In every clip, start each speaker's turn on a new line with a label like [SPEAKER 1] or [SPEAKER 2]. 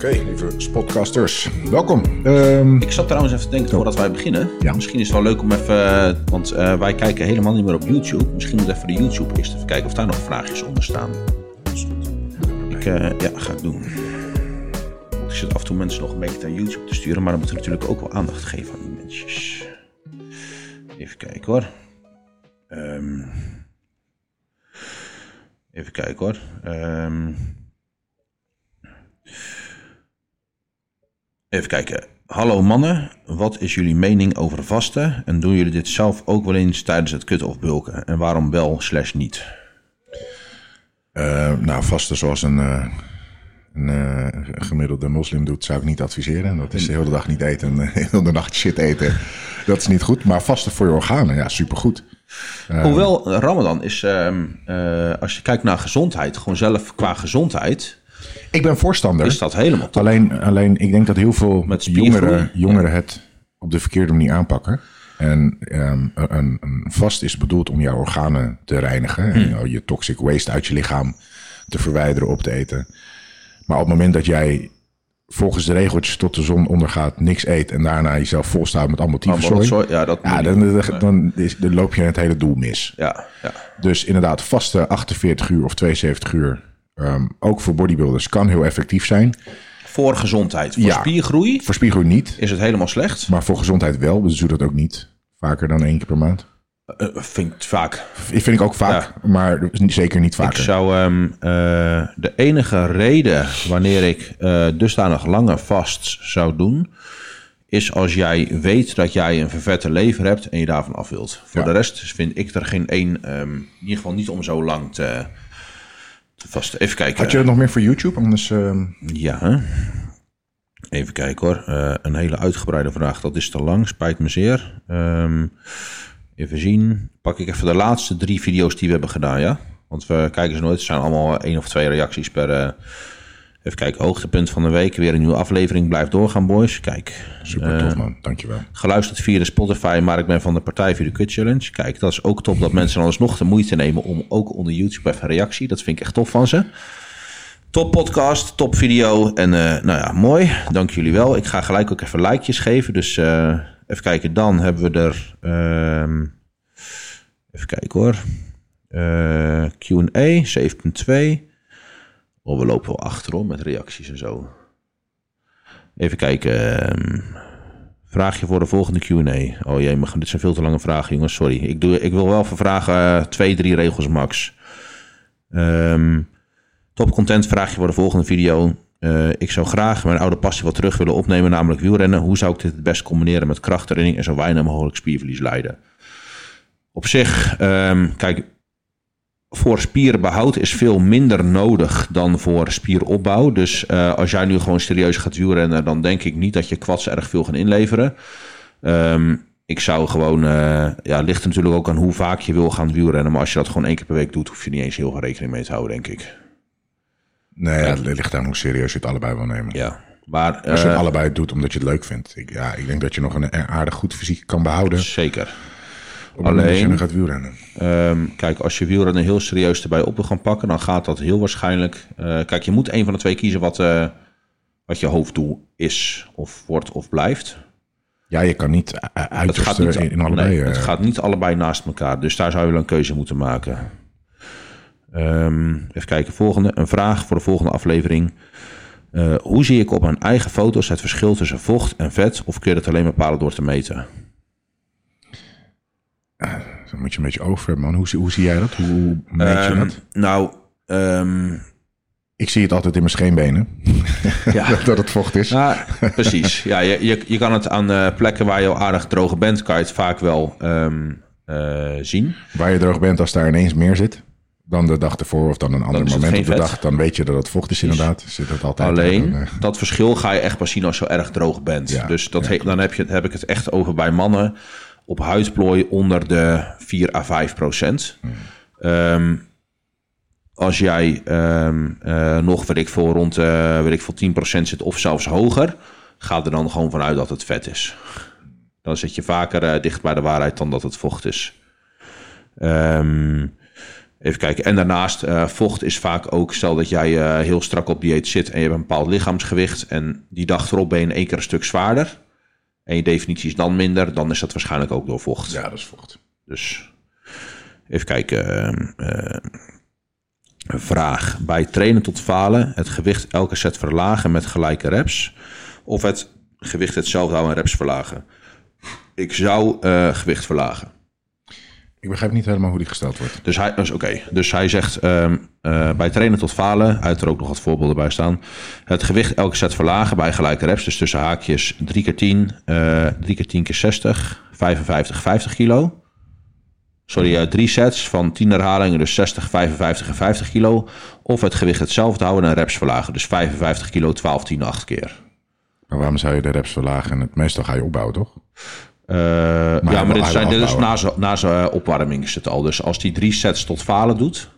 [SPEAKER 1] lieve spotcasters. Welkom. Ehm,
[SPEAKER 2] Ik zat trouwens even te denken voordat wij beginnen.
[SPEAKER 1] Ja.
[SPEAKER 2] Misschien is het wel leuk om even. Want eh, wij kijken helemaal niet meer op YouTube. Misschien moet even de YouTube eerst even kijken of daar nog vraagjes onder staan. Ik eh, ja, ga ik doen. Ik zit af en toe mensen nog een beetje naar YouTube te sturen. Maar dan moeten we natuurlijk ook wel aandacht geven aan die mensen. Even kijken hoor. Ehm, even kijken hoor. Ehm, Even kijken. Hallo mannen, wat is jullie mening over vasten? En doen jullie dit zelf ook wel eens tijdens het kutten of bulken? En waarom wel slash niet?
[SPEAKER 1] eh, nou, vasten zoals een, eh, een eh, gemiddelde moslim doet, zou ik niet adviseren. Dat is de hele dag niet eten en de hele nacht shit eten. Dat is niet goed. Maar vasten voor je organen, ja, supergoed.
[SPEAKER 2] Hoewel eh, Ramadan is, ehm, eh, als je kijkt naar gezondheid, gewoon zelf qua gezondheid,
[SPEAKER 1] Ik ben voorstander.
[SPEAKER 2] is dat helemaal top.
[SPEAKER 1] Alleen, alleen, ik denk dat heel veel
[SPEAKER 2] Met
[SPEAKER 1] jongeren,
[SPEAKER 2] spiergroei?
[SPEAKER 1] jongeren het op de verkeerde manier aanpakken. En ehm, een, een vast is bedoeld om jouw organen te reinigen.
[SPEAKER 2] Hmm.
[SPEAKER 1] En jou- je toxic waste uit je lichaam te verwijderen, op te eten. Maar op het moment dat jij volgens de regeltjes tot de zon ondergaat niks eet... en daarna jezelf volstaat met allemaal
[SPEAKER 2] Allemaal
[SPEAKER 1] tyfuszooi...
[SPEAKER 2] rotzooi, ja, dat
[SPEAKER 1] Ja,
[SPEAKER 2] moet
[SPEAKER 1] dan,
[SPEAKER 2] niet.
[SPEAKER 1] dan, dan is- dan loop je het hele doel mis.
[SPEAKER 2] Ja, ja.
[SPEAKER 1] Dus inderdaad, vaste 48 uur of 72 uur... ehm, ook voor bodybuilders kan heel effectief zijn.
[SPEAKER 2] Voor gezondheid, voor
[SPEAKER 1] Ja.
[SPEAKER 2] spiergroei
[SPEAKER 1] Voor spiergroei niet.
[SPEAKER 2] is het helemaal slecht.
[SPEAKER 1] Maar voor gezondheid wel, dus doe dat ook niet. Vaker dan één keer per maand.
[SPEAKER 2] Eh, vind ik het vaak.
[SPEAKER 1] Ik vind ik ook vaak, maar zeker niet
[SPEAKER 2] Ik
[SPEAKER 1] vaker.
[SPEAKER 2] zou ehm, eh, de enige reden wanneer ik eh, dusdanig lange vast zou doen, is als jij weet dat jij een vervette lever hebt en je daarvan af wilt. Voor
[SPEAKER 1] Ja.
[SPEAKER 2] de rest vind ik er geen één, ehm, in ieder geval niet om zo lang te, te vasten. Even kijken.
[SPEAKER 1] Had je dat nog meer voor YouTube? Anders, ehm,
[SPEAKER 2] Ja. hè? Even kijken hoor. Eh, een hele uitgebreide vraag. Dat is te lang. Spijt me zeer. Ehm, even zien. Pak ik even de laatste drie video's die we hebben gedaan, ja? Want we kijken ze nooit. Het zijn allemaal één of twee reacties per... eh, even kijken. Hoogtepunt van de week. Weer een nieuwe aflevering. Blijf doorgaan, boys. Kijk.
[SPEAKER 1] super
[SPEAKER 2] Eh,
[SPEAKER 1] tof man, dankjewel.
[SPEAKER 2] Geluisterd via de Spotify, maar ik ben van de Partij voor de Kut Challenge. Kijk, dat is ook top dat mensen anders nog de moeite nemen om ook onder YouTube even een reactie. Dat vind ik echt tof van ze. Top podcast, top video. En eh, nou ja, mooi. Dank jullie wel. Ik ga gelijk ook even likejes geven. Dus eh, even kijken. Dan hebben we er. ehm, even kijken hoor. Eh, QA 7.2. Oh, we lopen wel achterom met reacties en zo. Even kijken. ehm, Vraagje voor de volgende Q&A. Oh jee, maar dit zijn veel te lange vragen, jongens. Sorry. Ik, doe, ik wil wel voor vragen eh, twee, drie regels max. Ehm, top content vraagje voor de volgende video. Eh, ik zou graag mijn oude passie wat terug willen opnemen, namelijk wielrennen. Hoe zou ik dit het best combineren met krachttraining en zo weinig mogelijk spierverlies leiden? Op zich, ehm, kijk, voor spierbehoud is veel minder nodig dan voor spieropbouw. Dus eh, als jij nu gewoon serieus gaat wielrennen, dan denk ik niet dat je kwads erg veel gaan inleveren. Ehm, ik zou gewoon, eh, ja, het ligt er natuurlijk ook aan hoe vaak je wil gaan wielrennen. Maar als je dat gewoon één keer per week doet, hoef je niet eens heel veel rekening mee te houden, denk ik.
[SPEAKER 1] Nee, ja, het ligt aan hoe serieus je het allebei wil nemen.
[SPEAKER 2] Ja. Maar
[SPEAKER 1] Als je
[SPEAKER 2] eh,
[SPEAKER 1] het allebei doet omdat je het leuk vindt. Ik, ja, ik denk dat je nog een e- aardig goed fysiek kan behouden.
[SPEAKER 2] zeker.
[SPEAKER 1] Op het moment dat je
[SPEAKER 2] alleen-
[SPEAKER 1] dan gaat wielrennen.
[SPEAKER 2] Ehm, kijk, als je wielrennen heel serieus erbij op wil gaan pakken, dan gaat dat heel waarschijnlijk. eh, kijk, je moet een van de twee kiezen wat, eh, wat je hoofddoel is, of wordt of blijft.
[SPEAKER 1] Ja, je kan niet eh, eh, uiterste in, in allebei.
[SPEAKER 2] nee, het
[SPEAKER 1] eh,
[SPEAKER 2] gaat niet allebei naast elkaar. Dus daar zou je wel een keuze moeten maken. Ehm, even kijken, volgende. Een vraag voor de volgende aflevering. Eh, hoe zie ik op mijn eigen foto's het verschil tussen vocht en vet? Of kun je dat alleen bepalen door te meten?
[SPEAKER 1] Dan moet je een beetje over, man. Hoe, zie- hoe zie jij dat? Hoe, hoe meet je
[SPEAKER 2] Ehm,
[SPEAKER 1] dat?
[SPEAKER 2] nou, ehm,
[SPEAKER 1] Ik zie het altijd in mijn scheenbenen.
[SPEAKER 2] ja.
[SPEAKER 1] dat het vocht is.
[SPEAKER 2] Ja, precies. Ja, je, je, je kan het aan eh, plekken waar je al aardig droog bent, kan je het vaak wel ehm, eh, zien.
[SPEAKER 1] Waar je droog bent als daar ineens meer zit dan de dag ervoor of dan een ander
[SPEAKER 2] is het
[SPEAKER 1] moment op de
[SPEAKER 2] geen vet.
[SPEAKER 1] dag, dan weet je dat het vocht is inderdaad. Zit het altijd
[SPEAKER 2] Alleen,
[SPEAKER 1] eh,
[SPEAKER 2] dat verschil ga je echt pas zien als je erg droog bent.
[SPEAKER 1] Ja,
[SPEAKER 2] dus dat he- dan heb, je, heb ik het echt over bij mannen op huidplooi onder de 4 à 5 procent.
[SPEAKER 1] Hmm.
[SPEAKER 2] Ehm, als jij ehm, eh, nog, weet ik veel, rond eh weet ik veel, 10 procent zit of zelfs hoger... ga er dan gewoon vanuit dat het vet is. Dan zit je vaker eh, dicht bij de waarheid dan dat het vocht is. Ehm, Even kijken. En daarnaast, eh, vocht is vaak ook... stel dat jij eh, heel strak op dieet zit... en je hebt een bepaald lichaamsgewicht... en die dag erop ben je in één keer een stuk zwaarder... en je definitie is dan minder... dan is dat waarschijnlijk ook door vocht.
[SPEAKER 1] Ja, dat is vocht.
[SPEAKER 2] Dus even kijken. ehm, eh, een vraag. Bij trainen tot falen, het gewicht elke set verlagen met gelijke reps. Of het gewicht hetzelfde houden en reps verlagen. Ik zou eh, gewicht verlagen.
[SPEAKER 1] Ik begrijp niet helemaal hoe die gesteld wordt.
[SPEAKER 2] Dus hij, dus, oké. dus hij zegt ehm, eh, bij trainen tot falen, uit er ook nog wat voorbeelden bij staan. Het gewicht elke set verlagen bij gelijke reps. Dus tussen haakjes 3 keer 10, eh 3 keer 10 keer 60, 55, 50 kilo. Sorry, eh, drie sets van 10 herhalingen, dus 60, 55 en 50 kilo. Of het gewicht hetzelfde houden en reps verlagen. Dus 55 kilo, 12, 10, 8 keer.
[SPEAKER 1] Maar waarom zou je de reps verlagen? En het meestal ga je opbouwen, toch?
[SPEAKER 2] Eh, ja,
[SPEAKER 1] hij wil-
[SPEAKER 2] maar dit,
[SPEAKER 1] hij
[SPEAKER 2] zijn,
[SPEAKER 1] wil
[SPEAKER 2] dit is
[SPEAKER 1] afbouwen.
[SPEAKER 2] na zijn- na zijn opwarming is het al. Dus als hij drie sets tot falen doet,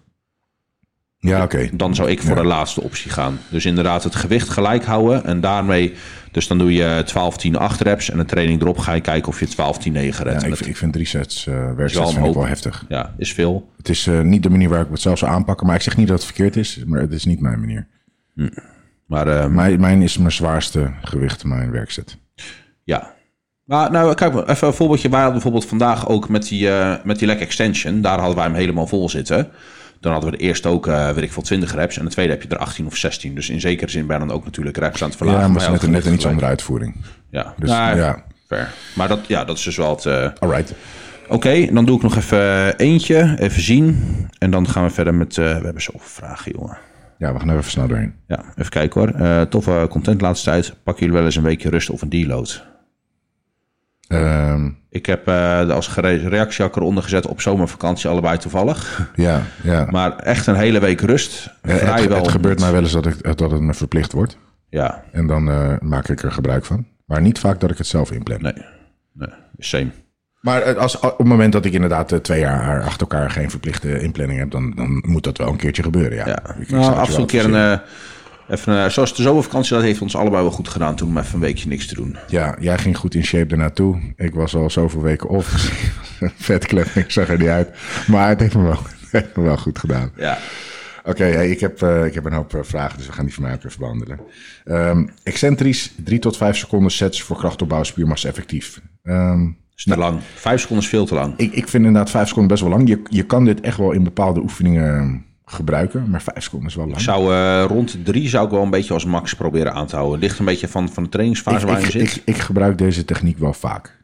[SPEAKER 1] Ja, oké.
[SPEAKER 2] dan zou ik voor de laatste optie gaan. Dus inderdaad het gewicht gelijk houden en daarmee... Dus dan doe je 12, 10, 8 reps en een training erop ga je kijken of je 12, 10, 9 redt.
[SPEAKER 1] Ja,
[SPEAKER 2] Ja,
[SPEAKER 1] ik, ik vind drie sets eh werksets
[SPEAKER 2] een
[SPEAKER 1] vind ik
[SPEAKER 2] hoop.
[SPEAKER 1] wel heftig.
[SPEAKER 2] is veel.
[SPEAKER 1] Het is eh, niet de manier waarop ik het zelf zou aanpakken. Maar ik zeg niet dat het verkeerd is, maar het is niet mijn manier.
[SPEAKER 2] Maar ehm,
[SPEAKER 1] Mijn, mijn is mijn zwaarste gewicht, mijn werkset.
[SPEAKER 2] ja. Maar nou, kijk maar, even een voorbeeldje. Wij hadden bijvoorbeeld vandaag ook met die, eh, met die leg extension, daar hadden wij hem helemaal vol zitten. Dan hadden we de eerste ook, eh weet ik veel, 20 reps. En de tweede heb je er 18 of 16. Dus in zekere zin ben je dan ook natuurlijk reps aan het verlagen.
[SPEAKER 1] ja, maar het
[SPEAKER 2] maar
[SPEAKER 1] is
[SPEAKER 2] hij
[SPEAKER 1] net,
[SPEAKER 2] had
[SPEAKER 1] net een
[SPEAKER 2] gewicht
[SPEAKER 1] iets
[SPEAKER 2] gelijk.
[SPEAKER 1] andere uitvoering.
[SPEAKER 2] Ja,
[SPEAKER 1] Dus,
[SPEAKER 2] Nou,
[SPEAKER 1] ja.
[SPEAKER 2] fair. Maar dat, ja, dat is dus wel het... eh,
[SPEAKER 1] All right.
[SPEAKER 2] Oké, dan doe ik nog even eh, eentje, even zien. En dan gaan we verder met. eh, we hebben zoveel vragen, jongen.
[SPEAKER 1] Ja, we gaan er even snel doorheen.
[SPEAKER 2] Ja, even kijken hoor. Eh, toffe content laatste tijd. Pakken jullie wel eens een weekje rust of een deload?
[SPEAKER 1] Ehm,
[SPEAKER 2] Ik heb eh, als gere- reactie had ik eronder gezet op zomervakantie, allebei toevallig.
[SPEAKER 1] ja, ja.
[SPEAKER 2] Maar echt een hele week rust.
[SPEAKER 1] Eh, het,
[SPEAKER 2] vrijwel
[SPEAKER 1] het gebeurt
[SPEAKER 2] niet.
[SPEAKER 1] mij wel eens dat, ik, dat het me verplicht wordt.
[SPEAKER 2] Ja,
[SPEAKER 1] En dan eh, maak ik er gebruik van. Maar niet vaak dat ik het zelf inplan.
[SPEAKER 2] nee. Nee, same.
[SPEAKER 1] Maar eh, als, op het moment dat ik inderdaad eh, twee jaar achter elkaar geen verplichte inplanning heb, dan, dan moet dat wel een keertje gebeuren. Ja, Ik-
[SPEAKER 2] Ja.
[SPEAKER 1] ik zou het
[SPEAKER 2] Nou,
[SPEAKER 1] je
[SPEAKER 2] af en toe een
[SPEAKER 1] wel
[SPEAKER 2] keer een.
[SPEAKER 1] adviseren.
[SPEAKER 2] eh, even, eh, zoals de zomervakantie, dat heeft ons allebei wel goed gedaan toen om even een weekje niks te doen.
[SPEAKER 1] Ja, jij ging goed in shape ernaartoe. Ik was al zoveel weken op. Vet klep, ik zag er niet uit. Maar het heeft me wel, het heeft me wel goed gedaan.
[SPEAKER 2] Ja.
[SPEAKER 1] Oké, hey, ik, heb, eh, ik heb een hoop eh, vragen, dus we gaan die van mij ook even behandelen. Ehm, excentrisch, 3 tot 5 seconden sets voor krachtopbouw, spiermassa effectief. Ehm,
[SPEAKER 2] Is te lang. Vijf seconden is veel te lang.
[SPEAKER 1] ik, ik vind inderdaad 5 seconden best wel lang. Je, je kan dit echt wel in bepaalde oefeningen ehm, gebruiken, maar 5 seconden is wel lang.
[SPEAKER 2] Ik zou eh, rond de drie zou ik wel een beetje als max proberen aan te houden. Ligt een beetje van, van de trainingsfase
[SPEAKER 1] ik,
[SPEAKER 2] waar je
[SPEAKER 1] ik,
[SPEAKER 2] in zit.
[SPEAKER 1] ik, ik gebruik deze techniek wel vaak.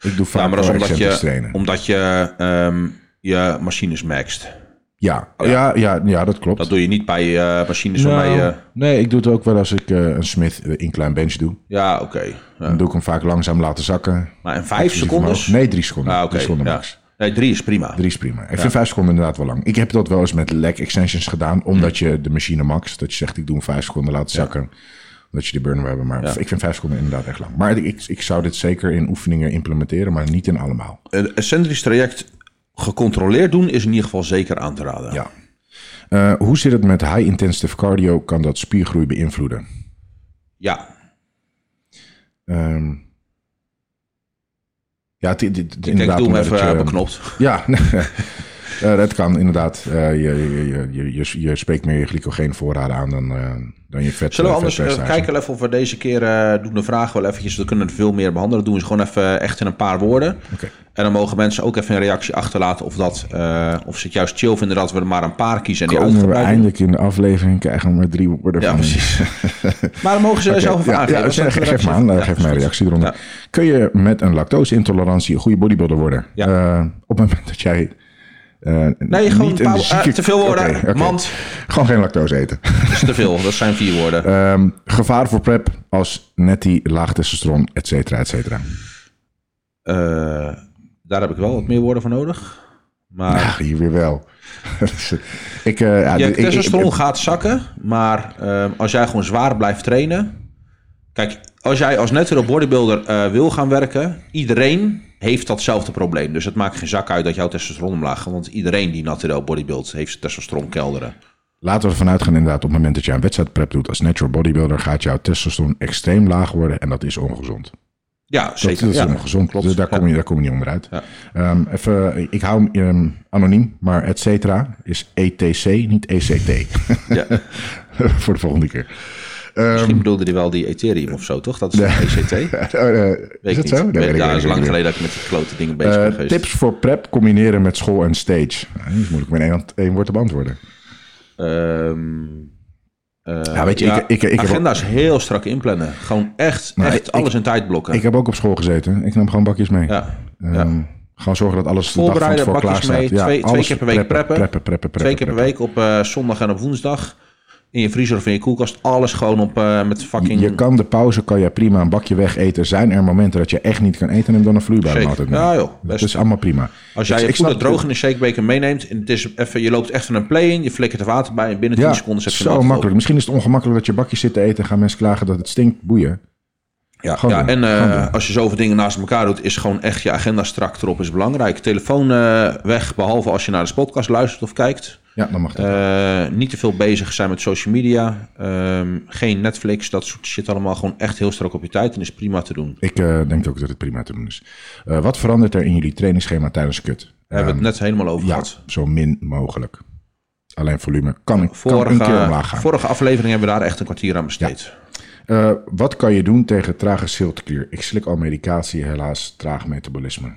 [SPEAKER 1] Ik doe vaak
[SPEAKER 2] ja, maar dat is
[SPEAKER 1] wel
[SPEAKER 2] omdat
[SPEAKER 1] excentrisch
[SPEAKER 2] je,
[SPEAKER 1] trainen.
[SPEAKER 2] omdat je ehm, je machines maxt.
[SPEAKER 1] Ja, ja, ja, ja, dat klopt.
[SPEAKER 2] Oh, Dat doe je niet bij eh, machines waarmee
[SPEAKER 1] Nou,
[SPEAKER 2] je...
[SPEAKER 1] Nee, ik doe het ook wel als ik eh, een Smith eh, in klein bench doe.
[SPEAKER 2] Ja, oké. Ja.
[SPEAKER 1] Dan doe ik hem vaak langzaam laten zakken.
[SPEAKER 2] Maar in vijf seconden?
[SPEAKER 1] Omhoog. Nee, drie seconden.
[SPEAKER 2] Ah, oké.
[SPEAKER 1] Drie seconden
[SPEAKER 2] ja.
[SPEAKER 1] max.
[SPEAKER 2] Nee, drie is prima.
[SPEAKER 1] Drie is prima. Ik vind vijf seconden inderdaad wel lang. Ik heb dat wel eens met leg extensions gedaan. Omdat
[SPEAKER 2] Hm.
[SPEAKER 1] je de machine max, dat je zegt ik doe hem vijf seconden laten zakken. Dat je de burn wil hebben. Maar ik vind vijf seconden inderdaad echt lang. Maar ik, ik zou dit zeker in oefeningen implementeren, maar niet in allemaal.
[SPEAKER 2] Een excentrisch traject gecontroleerd doen is in ieder geval zeker aan te raden.
[SPEAKER 1] Ja. Eh, hoe zit het met high intensive cardio? Kan dat spiergroei beïnvloeden?
[SPEAKER 2] Ja.
[SPEAKER 1] Ehm, ja, het- het- het-
[SPEAKER 2] Ik denk,
[SPEAKER 1] inderdaad,
[SPEAKER 2] doe hem
[SPEAKER 1] omdat
[SPEAKER 2] even
[SPEAKER 1] het je-
[SPEAKER 2] eh, beknopt.
[SPEAKER 1] Ja, eh, dat kan inderdaad. Eh, je, je, je, je, je, je spreekt meer je glycogeenvoorraden aan dan, eh, dan je vet.
[SPEAKER 2] Zullen we
[SPEAKER 1] eh,
[SPEAKER 2] anders eh,
[SPEAKER 1] vetpercentage.
[SPEAKER 2] kijken wel even of we deze keer eh, doen de vraag wel eventjes. We kunnen er veel meer behandelen. Doen we ze gewoon even eh, echt in een paar woorden.
[SPEAKER 1] Oké.
[SPEAKER 2] En dan mogen mensen ook even een reactie achterlaten of, dat, eh, of ze het juist chill vinden dat we er maar een paar kiezen en die
[SPEAKER 1] Komen we
[SPEAKER 2] uitgebreid doen.
[SPEAKER 1] eindelijk in de aflevering krijgen we maar drie woorden
[SPEAKER 2] Ja,
[SPEAKER 1] van.
[SPEAKER 2] precies. maar dan mogen ze
[SPEAKER 1] Oké,
[SPEAKER 2] zelf even
[SPEAKER 1] ja,
[SPEAKER 2] aangeven.
[SPEAKER 1] ja,
[SPEAKER 2] wat
[SPEAKER 1] zeg-
[SPEAKER 2] ze
[SPEAKER 1] geef maar aan, eh, geef mij een reactie eronder.
[SPEAKER 2] Ja.
[SPEAKER 1] Kun je met een lactose-intolerantie een goede bodybuilder worden?
[SPEAKER 2] Ja.
[SPEAKER 1] Eh, op het moment dat jij eh,
[SPEAKER 2] Nee, gewoon
[SPEAKER 1] niet
[SPEAKER 2] een paar-
[SPEAKER 1] zieke-
[SPEAKER 2] eh, te veel woorden.
[SPEAKER 1] Oké, oké.
[SPEAKER 2] Mand.
[SPEAKER 1] Gewoon geen lactose eten.
[SPEAKER 2] Dat is te veel, dat zijn vier woorden.
[SPEAKER 1] Ehm, gevaar voor prep als netty, laag testosteron, et cetera, et cetera.
[SPEAKER 2] Eh, daar heb ik wel wat meer woorden voor nodig. Maar
[SPEAKER 1] Ach, hier weer wel. ik, eh ja,
[SPEAKER 2] Ah. je
[SPEAKER 1] ik- ik-
[SPEAKER 2] testosteron
[SPEAKER 1] ik-
[SPEAKER 2] gaat zakken, maar ehm, als jij gewoon zwaar blijft trainen. Kijk, als jij als natural bodybuilder eh, wil gaan werken, iedereen heeft datzelfde probleem. Dus het maakt geen zak uit dat jouw testosteron omlaag gaat. Want iedereen die natural bodybuildt, heeft zijn testosteron kelderen.
[SPEAKER 1] laten we ervan uitgaan inderdaad, op het moment dat je een wedstrijdprep doet als natural bodybuilder, gaat jouw testosteron extreem laag worden en dat is ongezond.
[SPEAKER 2] Ja, zeker.
[SPEAKER 1] Dat is
[SPEAKER 2] ja.
[SPEAKER 1] helemaal gezond.
[SPEAKER 2] Klopt.
[SPEAKER 1] Dus daar, kom je, daar kom je niet onderuit.
[SPEAKER 2] Ja.
[SPEAKER 1] Ehm, even, ik hou hem ehm, anoniem, maar et cetera is ETC, niet ECT.
[SPEAKER 2] Ja.
[SPEAKER 1] Ehm, Voor de volgende keer.
[SPEAKER 2] Misschien bedoelde hij wel die Ethereum of zo, toch? Dat is een ECT. Weet
[SPEAKER 1] Eh, eh,
[SPEAKER 2] ik
[SPEAKER 1] is dat
[SPEAKER 2] niet.
[SPEAKER 1] zo? Nee, weet ik-
[SPEAKER 2] ja,
[SPEAKER 1] weet
[SPEAKER 2] is
[SPEAKER 1] ik
[SPEAKER 2] lang
[SPEAKER 1] niet.
[SPEAKER 2] geleden dat ik met die klote dingen bezig ben
[SPEAKER 1] Eh,
[SPEAKER 2] geweest.
[SPEAKER 1] tips voor prep combineren met school en stage. Nou, die is moeilijk met één, hand- één woord te beantwoorden.
[SPEAKER 2] Ehm, eh,
[SPEAKER 1] Ja, Nou, weet je,
[SPEAKER 2] ja,
[SPEAKER 1] ik, ik, ik, heb, ook-
[SPEAKER 2] agenda's heel strak inplannen. Gewoon echt,
[SPEAKER 1] Nou,
[SPEAKER 2] echt
[SPEAKER 1] ik-
[SPEAKER 2] alles in tijd blokken.
[SPEAKER 1] ik heb ook op school gezeten. Ik nam gewoon bakjes mee.
[SPEAKER 2] ja.
[SPEAKER 1] Ehm,
[SPEAKER 2] ja.
[SPEAKER 1] Gewoon zorgen dat alles de dag van
[SPEAKER 2] Voorbereiden,
[SPEAKER 1] tevoren klaar
[SPEAKER 2] bakjes
[SPEAKER 1] staat.
[SPEAKER 2] mee, twee- twee
[SPEAKER 1] alles
[SPEAKER 2] keer per week preppen.
[SPEAKER 1] Preppen, preppen, preppen.
[SPEAKER 2] Twee keer per week op eh, zondag en op woensdag. In je vriezer of in je koelkast. Alles gewoon op eh, met fucking...
[SPEAKER 1] Je kan de pauze, kan je prima een bakje wegeten. Zijn er momenten dat je echt niet kan eten, neem dan een vloeibare
[SPEAKER 2] Zeker.
[SPEAKER 1] maaltijd mee.
[SPEAKER 2] Ja, Nou, joh,
[SPEAKER 1] dat
[SPEAKER 2] best.
[SPEAKER 1] is allemaal prima.
[SPEAKER 2] Als jij
[SPEAKER 1] Ik-
[SPEAKER 2] je
[SPEAKER 1] ik
[SPEAKER 2] goede
[SPEAKER 1] snap-
[SPEAKER 2] droog in een shakebeker meeneemt. En het is even, je loopt echt van een play in. Je flikkert er water bij. En binnen 10
[SPEAKER 1] Ja,
[SPEAKER 2] seconden heb je
[SPEAKER 1] zo
[SPEAKER 2] een afval.
[SPEAKER 1] makkelijk. Misschien is het ongemakkelijk dat je bakjes zit te eten. Gaan mensen klagen dat het stinkt, boeien.
[SPEAKER 2] Ja,
[SPEAKER 1] Gewoon
[SPEAKER 2] ja
[SPEAKER 1] doen,
[SPEAKER 2] en eh,
[SPEAKER 1] gewoon doen.
[SPEAKER 2] als je zoveel dingen naast elkaar doet, is gewoon echt je agenda strak erop is belangrijk. Telefoon eh, weg, behalve als je naar de podcast luistert of kijkt.
[SPEAKER 1] Ja, dan mag dat.
[SPEAKER 2] Eh, niet te veel bezig zijn met social media. Ehm, geen Netflix, dat soort shit allemaal. Gewoon echt heel strak op je tijd en is prima te doen.
[SPEAKER 1] Ik eh, denk ook dat het prima te doen is. Eh, wat verandert er in jullie trainingsschema tijdens kut? Eh,
[SPEAKER 2] Daar hebben we het net helemaal
[SPEAKER 1] Ehm,
[SPEAKER 2] over
[SPEAKER 1] Ja,
[SPEAKER 2] gehad.
[SPEAKER 1] zo min mogelijk. Alleen volume kan, kan een keer
[SPEAKER 2] Vorige,
[SPEAKER 1] omlaag gaan.
[SPEAKER 2] vorige aflevering hebben we daar echt een kwartier aan besteed.
[SPEAKER 1] Eh, wat kan je doen tegen trage schildklier? Ik slik al medicatie, helaas traag metabolisme.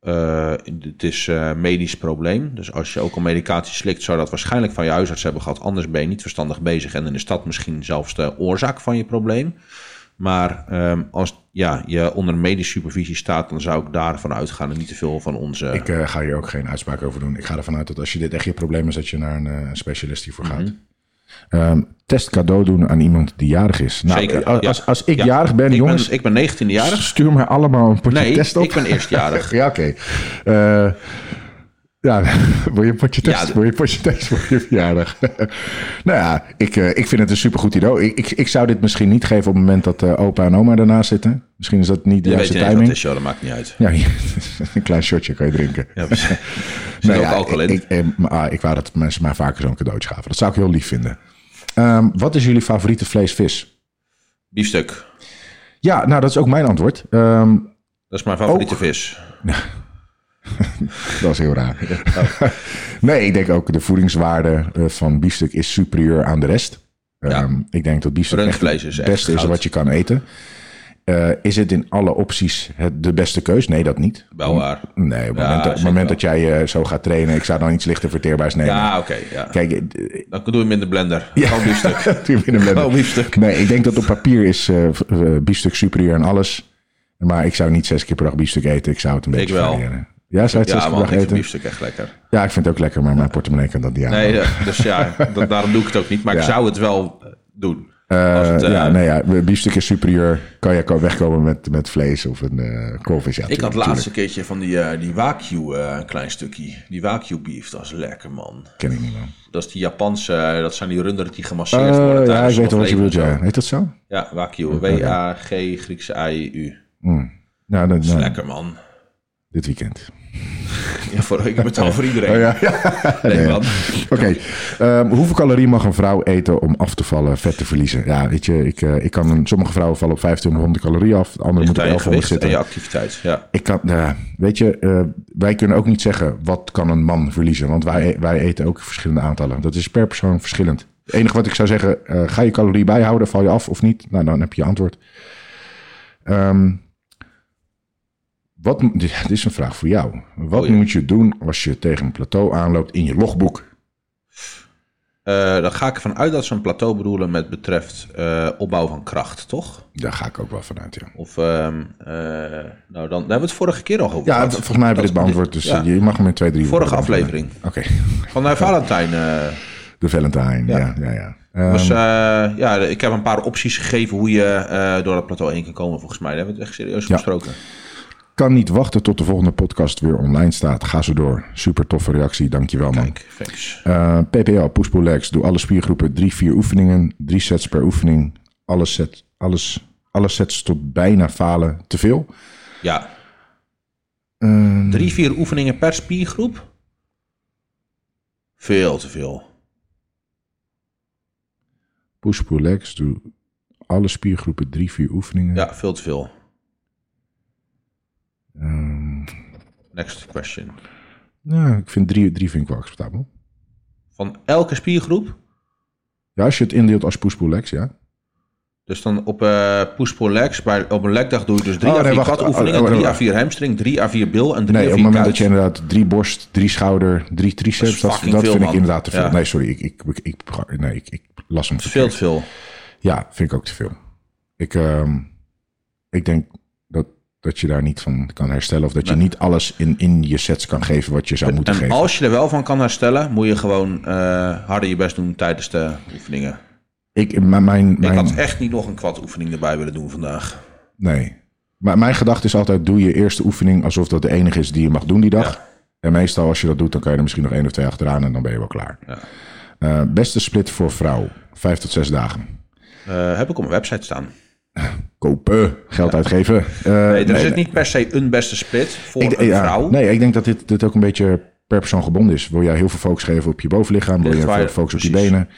[SPEAKER 2] Eh, het is eh, een medisch probleem. Dus als je ook al medicatie slikt, zou dat waarschijnlijk van je huisarts hebben gehad. Anders ben je niet verstandig bezig. En dan is dat misschien zelfs de oorzaak van je probleem. Maar ehm, als ja, je onder medische supervisie staat, dan zou ik daarvan uitgaan en niet te veel van onze.
[SPEAKER 1] Ik eh, ga hier ook geen uitspraak over doen. Ik ga ervan uit dat als je dit echt je probleem is, dat je naar een eh, specialist hiervoor
[SPEAKER 2] Mhm.
[SPEAKER 1] gaat. Ehm, test cadeau doen aan iemand die jarig is. Nou,
[SPEAKER 2] Zeker,
[SPEAKER 1] eh, als,
[SPEAKER 2] ja.
[SPEAKER 1] als, als ik
[SPEAKER 2] Ja.
[SPEAKER 1] jarig ben,
[SPEAKER 2] ik,
[SPEAKER 1] jongens,
[SPEAKER 2] ben, ik ben 19 jarig.
[SPEAKER 1] stuur me allemaal een potje
[SPEAKER 2] Nee,
[SPEAKER 1] test op.
[SPEAKER 2] ik ben eerstjarig.
[SPEAKER 1] ja, oké. Eh, ja, wil je een potje test?
[SPEAKER 2] Ja,
[SPEAKER 1] wil je een potje test voor je verjaardag? nou ja, ik, eh, ik vind het een supergoed idee. Ik, ik, ik zou dit misschien niet geven op het moment dat eh, opa en oma ernaast zitten. Misschien is dat niet de
[SPEAKER 2] Je weet
[SPEAKER 1] juiste
[SPEAKER 2] niet eens wat
[SPEAKER 1] timing.
[SPEAKER 2] het is, joh, dat maakt niet uit.
[SPEAKER 1] Ja, een klein shotje kan je drinken.
[SPEAKER 2] Ja, precies. Er zit
[SPEAKER 1] Nou
[SPEAKER 2] ook alcohol in.
[SPEAKER 1] Ik, ik, eh, maar, ah, ik wou dat mensen mij vaker zo'n cadeautje gaven. Dat zou ik heel lief vinden. Ehm, wat is jullie favoriete vlees-vis?
[SPEAKER 2] Biefstuk.
[SPEAKER 1] Ja, nou, dat is ook mijn antwoord. Ehm,
[SPEAKER 2] Dat is mijn favoriete
[SPEAKER 1] Ook.
[SPEAKER 2] vis.
[SPEAKER 1] dat is heel raar. nee, ik denk ook de voedingswaarde eh, van biefstuk is superieur aan de rest. Ehm, Ik denk dat biefstuk echt
[SPEAKER 2] Rundvlees is
[SPEAKER 1] het
[SPEAKER 2] echt
[SPEAKER 1] beste is
[SPEAKER 2] goud.
[SPEAKER 1] wat je kan eten. Eh, is het in alle opties het, de beste keus? Nee, dat niet.
[SPEAKER 2] Wel waar.
[SPEAKER 1] Nee, op het
[SPEAKER 2] Ja,
[SPEAKER 1] moment, dat- op het
[SPEAKER 2] zeker
[SPEAKER 1] moment
[SPEAKER 2] wel.
[SPEAKER 1] dat jij eh, zo gaat trainen, ik zou dan iets lichter verteerbaars nemen.
[SPEAKER 2] Ja, oké. ja.
[SPEAKER 1] Kijk, eh,
[SPEAKER 2] Dan doe je hem in de blender. Gewoon biefstuk.
[SPEAKER 1] Tuur binnen blender.
[SPEAKER 2] Oh, biefstuk.
[SPEAKER 1] Nee, ik denk dat op papier is eh, v- eh, biefstuk superieur aan alles. Maar ik zou niet zes keer per dag biefstuk eten. Ik zou het een beetje
[SPEAKER 2] wel.
[SPEAKER 1] variëren. Ja, zou je het zes
[SPEAKER 2] Ja,
[SPEAKER 1] keer per
[SPEAKER 2] man, ik
[SPEAKER 1] dag
[SPEAKER 2] vind
[SPEAKER 1] eten?
[SPEAKER 2] biefstuk echt lekker.
[SPEAKER 1] Ja, ik vind het ook lekker, maar mijn portemonnee kan dat niet aan.
[SPEAKER 2] Nee, ja, dus ja, dat, daarom doe ik het ook niet. Maar ik
[SPEAKER 1] Ja.
[SPEAKER 2] zou het wel eh, doen.
[SPEAKER 1] Eh,
[SPEAKER 2] Als het, eh,
[SPEAKER 1] ja, nee, ja, biefstuk is superieur. Kan je ko- wegkomen met, met vlees of een eh koolvis? Ja,
[SPEAKER 2] ik had
[SPEAKER 1] tuurlijk,
[SPEAKER 2] het laatste keertje van die, eh, die Wagyu, eh, een klein stukje. Die Wagyu beef, dat is lekker, man.
[SPEAKER 1] tuurlijk. Ken ik niet, man.
[SPEAKER 2] Dat is die Japanse, eh, dat zijn die runderen die
[SPEAKER 1] Eh,
[SPEAKER 2] gemasseerd worden.
[SPEAKER 1] ja,
[SPEAKER 2] tijdens
[SPEAKER 1] ik weet wel wat je
[SPEAKER 2] het
[SPEAKER 1] bedoelt.
[SPEAKER 2] leven
[SPEAKER 1] Ja.
[SPEAKER 2] en
[SPEAKER 1] Heet dat zo?
[SPEAKER 2] zo. Ja, Wagyu, W-A-G, Griekse I-U.
[SPEAKER 1] Nou, dan, nou,
[SPEAKER 2] Lekker, man.
[SPEAKER 1] dit weekend.
[SPEAKER 2] Ja, voor, ik betaal voor iedereen.
[SPEAKER 1] Oh, ja.
[SPEAKER 2] Nee,
[SPEAKER 1] Nee,
[SPEAKER 2] man.
[SPEAKER 1] Oké, ehm, hoeveel calorieën mag een vrouw eten om af te vallen, vet te verliezen? Ja, weet je, ik, eh, ik kan een, sommige vrouwen vallen op 2500 calorieën af, de andere
[SPEAKER 2] Ligt
[SPEAKER 1] moet op
[SPEAKER 2] aan je
[SPEAKER 1] 1100
[SPEAKER 2] gewicht en
[SPEAKER 1] zitten.
[SPEAKER 2] eh, je activiteit. Ja.
[SPEAKER 1] Ik kan, nou ja, weet je, eh, wij kunnen ook niet zeggen wat kan een man verliezen, want wij, wij eten ook verschillende aantallen. Dat is per persoon verschillend. Het enige wat ik zou zeggen, eh, ga je calorieën bijhouden, val je af of niet? Nou, dan heb je je antwoord. Ehm, wat, mo- dit is een vraag voor jou. Wat
[SPEAKER 2] Oh, ja.
[SPEAKER 1] moet je doen als je tegen een plateau aanloopt in je logboek?
[SPEAKER 2] Eh, dan ga ik ervan uit dat ze een plateau bedoelen met betreft eh, opbouw van kracht, toch?
[SPEAKER 1] Daar ga ik ook wel vanuit, ja.
[SPEAKER 2] Of, ehm, eh, nou, dan, daar hebben we het vorige keer al over
[SPEAKER 1] Ja,
[SPEAKER 2] gehad.
[SPEAKER 1] volgens mij hebben we dit beantwoord, dus
[SPEAKER 2] ja.
[SPEAKER 1] je mag hem in twee, drie
[SPEAKER 2] Vorige
[SPEAKER 1] woorden beantwoorden.
[SPEAKER 2] aflevering.
[SPEAKER 1] Oké,
[SPEAKER 2] Van eh, Valentijn.
[SPEAKER 1] Ehm,
[SPEAKER 2] eh,
[SPEAKER 1] de Valentine, ja,
[SPEAKER 2] Ja.
[SPEAKER 1] ja, ja. Eh,
[SPEAKER 2] was, eh, ja, ik heb een paar opties gegeven hoe je eh, door dat plateau heen kan komen, volgens mij. Daar hebben we het echt serieus besproken.
[SPEAKER 1] kan niet wachten tot de volgende podcast weer online staat. Ga zo door. Super toffe reactie, dankjewel man.
[SPEAKER 2] Kijk, thanks.
[SPEAKER 1] Eh PPL, push pull legs. Doe alle spiergroepen drie, vier oefeningen. Drie sets per oefening. Alle, set, alles, alle sets tot bijna falen. Te veel?
[SPEAKER 2] Ja,
[SPEAKER 1] Eh,
[SPEAKER 2] drie, vier oefeningen per spiergroep. Veel te veel.
[SPEAKER 1] push pull legs. Doe alle spiergroepen drie, vier oefeningen.
[SPEAKER 2] Ja, veel te veel.
[SPEAKER 1] Ehm,
[SPEAKER 2] Next question.
[SPEAKER 1] nou, ik vind drie, drie vind ik wel acceptabel.
[SPEAKER 2] Van elke spiergroep,
[SPEAKER 1] Ja, als je het indeelt als push-pull-legs, ja.
[SPEAKER 2] dus dan op eh push pull legs, bij, op een legdag doe je dus drie
[SPEAKER 1] Oh,
[SPEAKER 2] à
[SPEAKER 1] nee,
[SPEAKER 2] vier
[SPEAKER 1] wacht. Oh,
[SPEAKER 2] katoefeningen,
[SPEAKER 1] oh,
[SPEAKER 2] drie
[SPEAKER 1] oh,
[SPEAKER 2] à vier hamstring, drie à vier bil en drie
[SPEAKER 1] Nee,
[SPEAKER 2] à
[SPEAKER 1] op het
[SPEAKER 2] vier
[SPEAKER 1] moment
[SPEAKER 2] kuit.
[SPEAKER 1] dat je inderdaad drie borst, drie schouder, drie triceps,
[SPEAKER 2] Dat
[SPEAKER 1] dat,
[SPEAKER 2] is
[SPEAKER 1] dat,
[SPEAKER 2] fucking veel,
[SPEAKER 1] vind ik
[SPEAKER 2] man.
[SPEAKER 1] inderdaad te veel.
[SPEAKER 2] Ja.
[SPEAKER 1] Nee, sorry, ik, ik, ik, ik, nee, ik, ik las hem
[SPEAKER 2] Dat is veel te
[SPEAKER 1] verkeerd.
[SPEAKER 2] veel.
[SPEAKER 1] Ja, vind ik ook te veel. Ik, ehm, ik denk dat, dat je daar niet van kan herstellen of dat je niet alles in, in je sets kan geven wat je zou moeten
[SPEAKER 2] En
[SPEAKER 1] geven.
[SPEAKER 2] als je er wel van kan herstellen, moet je gewoon eh, harder je best doen tijdens de oefeningen.
[SPEAKER 1] Ik, mijn, mijn,
[SPEAKER 2] Ik
[SPEAKER 1] mijn,
[SPEAKER 2] had echt niet nog een kwad oefening erbij willen doen vandaag.
[SPEAKER 1] Nee. Maar mijn gedachte is altijd: doe je eerste oefening alsof dat de enige is die je mag doen die dag. En meestal als je dat doet, dan kan je er misschien nog één of twee achteraan en dan ben je wel klaar.
[SPEAKER 2] Ja.
[SPEAKER 1] Eh, beste split voor vrouw: vijf tot zes dagen.
[SPEAKER 2] Eh, heb ik op mijn website staan.
[SPEAKER 1] Kopen, geld uitgeven. Eh,
[SPEAKER 2] Nee, er
[SPEAKER 1] nee,
[SPEAKER 2] zit
[SPEAKER 1] nee.
[SPEAKER 2] niet per se een beste split voor
[SPEAKER 1] Ik,
[SPEAKER 2] een
[SPEAKER 1] ja,
[SPEAKER 2] vrouw.
[SPEAKER 1] Nee, ik denk dat dit, dit ook een beetje per persoon gebonden is. Wil jij heel veel focus geven op je bovenlichaam? Wil
[SPEAKER 2] Ligt
[SPEAKER 1] je heel
[SPEAKER 2] waar
[SPEAKER 1] veel
[SPEAKER 2] je-
[SPEAKER 1] focus op je
[SPEAKER 2] precies.
[SPEAKER 1] benen?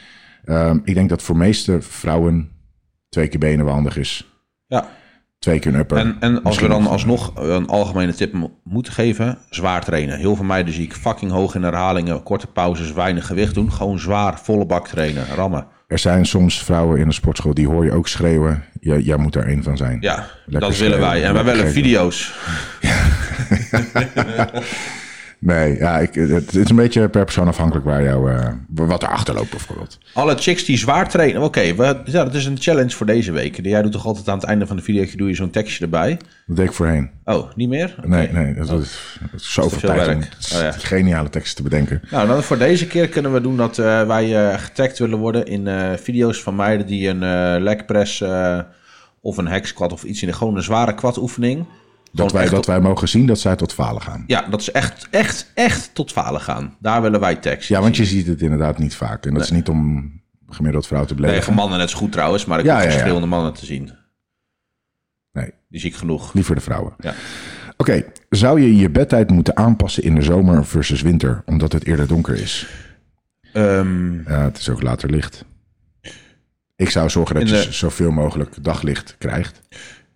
[SPEAKER 1] Ehm, ik denk dat voor meeste vrouwen twee keer benen wel handig is.
[SPEAKER 2] Ja.
[SPEAKER 1] Twee keer een upper.
[SPEAKER 2] En, en als we
[SPEAKER 1] Misschien
[SPEAKER 2] dan
[SPEAKER 1] nog-
[SPEAKER 2] alsnog een algemene tip mo- moeten geven, zwaar trainen. Heel veel meiden zie ik fucking hoog in herhalingen, korte pauzes, weinig gewicht doen. Gewoon zwaar, volle bak trainen, rammen.
[SPEAKER 1] Er zijn soms vrouwen in de sportschool die hoor je ook schreeuwen. Jij, jij moet daar één van zijn.
[SPEAKER 2] Ja, dat willen
[SPEAKER 1] schreeuwen,
[SPEAKER 2] wij. En
[SPEAKER 1] lekker
[SPEAKER 2] wij willen
[SPEAKER 1] geven.
[SPEAKER 2] video's.
[SPEAKER 1] Nee, ja, ik, het, het is een beetje per persoon afhankelijk waar jou, eh, wat erachter loopt bijvoorbeeld.
[SPEAKER 2] Alle chicks die zwaar trainen. Oké, we- ja, dat is een challenge voor deze week. Jij doet toch altijd aan het einde van de video doe je zo'n tekstje erbij.
[SPEAKER 1] Dat deed ik voorheen.
[SPEAKER 2] Oh, niet meer?
[SPEAKER 1] Nee,
[SPEAKER 2] Oké.
[SPEAKER 1] nee, dat, dat is, dat is zoveel
[SPEAKER 2] veel
[SPEAKER 1] tijd om
[SPEAKER 2] Oh. werk.
[SPEAKER 1] s-
[SPEAKER 2] Oh ja.
[SPEAKER 1] geniale teksten te bedenken.
[SPEAKER 2] Nou, dan voor deze keer kunnen we doen dat eh, wij eh, getagd willen worden in eh, video's van meiden die een eh leg press eh, of een hack squat of iets in de gewoon een zware quad oefening.
[SPEAKER 1] Dat wij, dat wij mogen zien dat zij tot falen gaan.
[SPEAKER 2] Ja, dat is echt, echt, echt tot falen gaan. Daar willen wij tekst.
[SPEAKER 1] Ja, want je ziet het inderdaad niet vaak. En dat is niet om gemiddeld vrouw te beledigen.
[SPEAKER 2] Tegen mannen net zo goed trouwens, maar ik
[SPEAKER 1] Ja,
[SPEAKER 2] heb
[SPEAKER 1] ja, ja.
[SPEAKER 2] verschillende mannen te zien.
[SPEAKER 1] Nee,
[SPEAKER 2] Die zie ik genoeg.
[SPEAKER 1] liever de vrouwen.
[SPEAKER 2] Ja.
[SPEAKER 1] Oké, zou je je bedtijd moeten aanpassen in de zomer versus winter? Omdat het eerder donker is.
[SPEAKER 2] Ehm,
[SPEAKER 1] Ja, het is ook later licht. Ik zou zorgen dat
[SPEAKER 2] In
[SPEAKER 1] je
[SPEAKER 2] de-
[SPEAKER 1] zoveel mogelijk daglicht krijgt.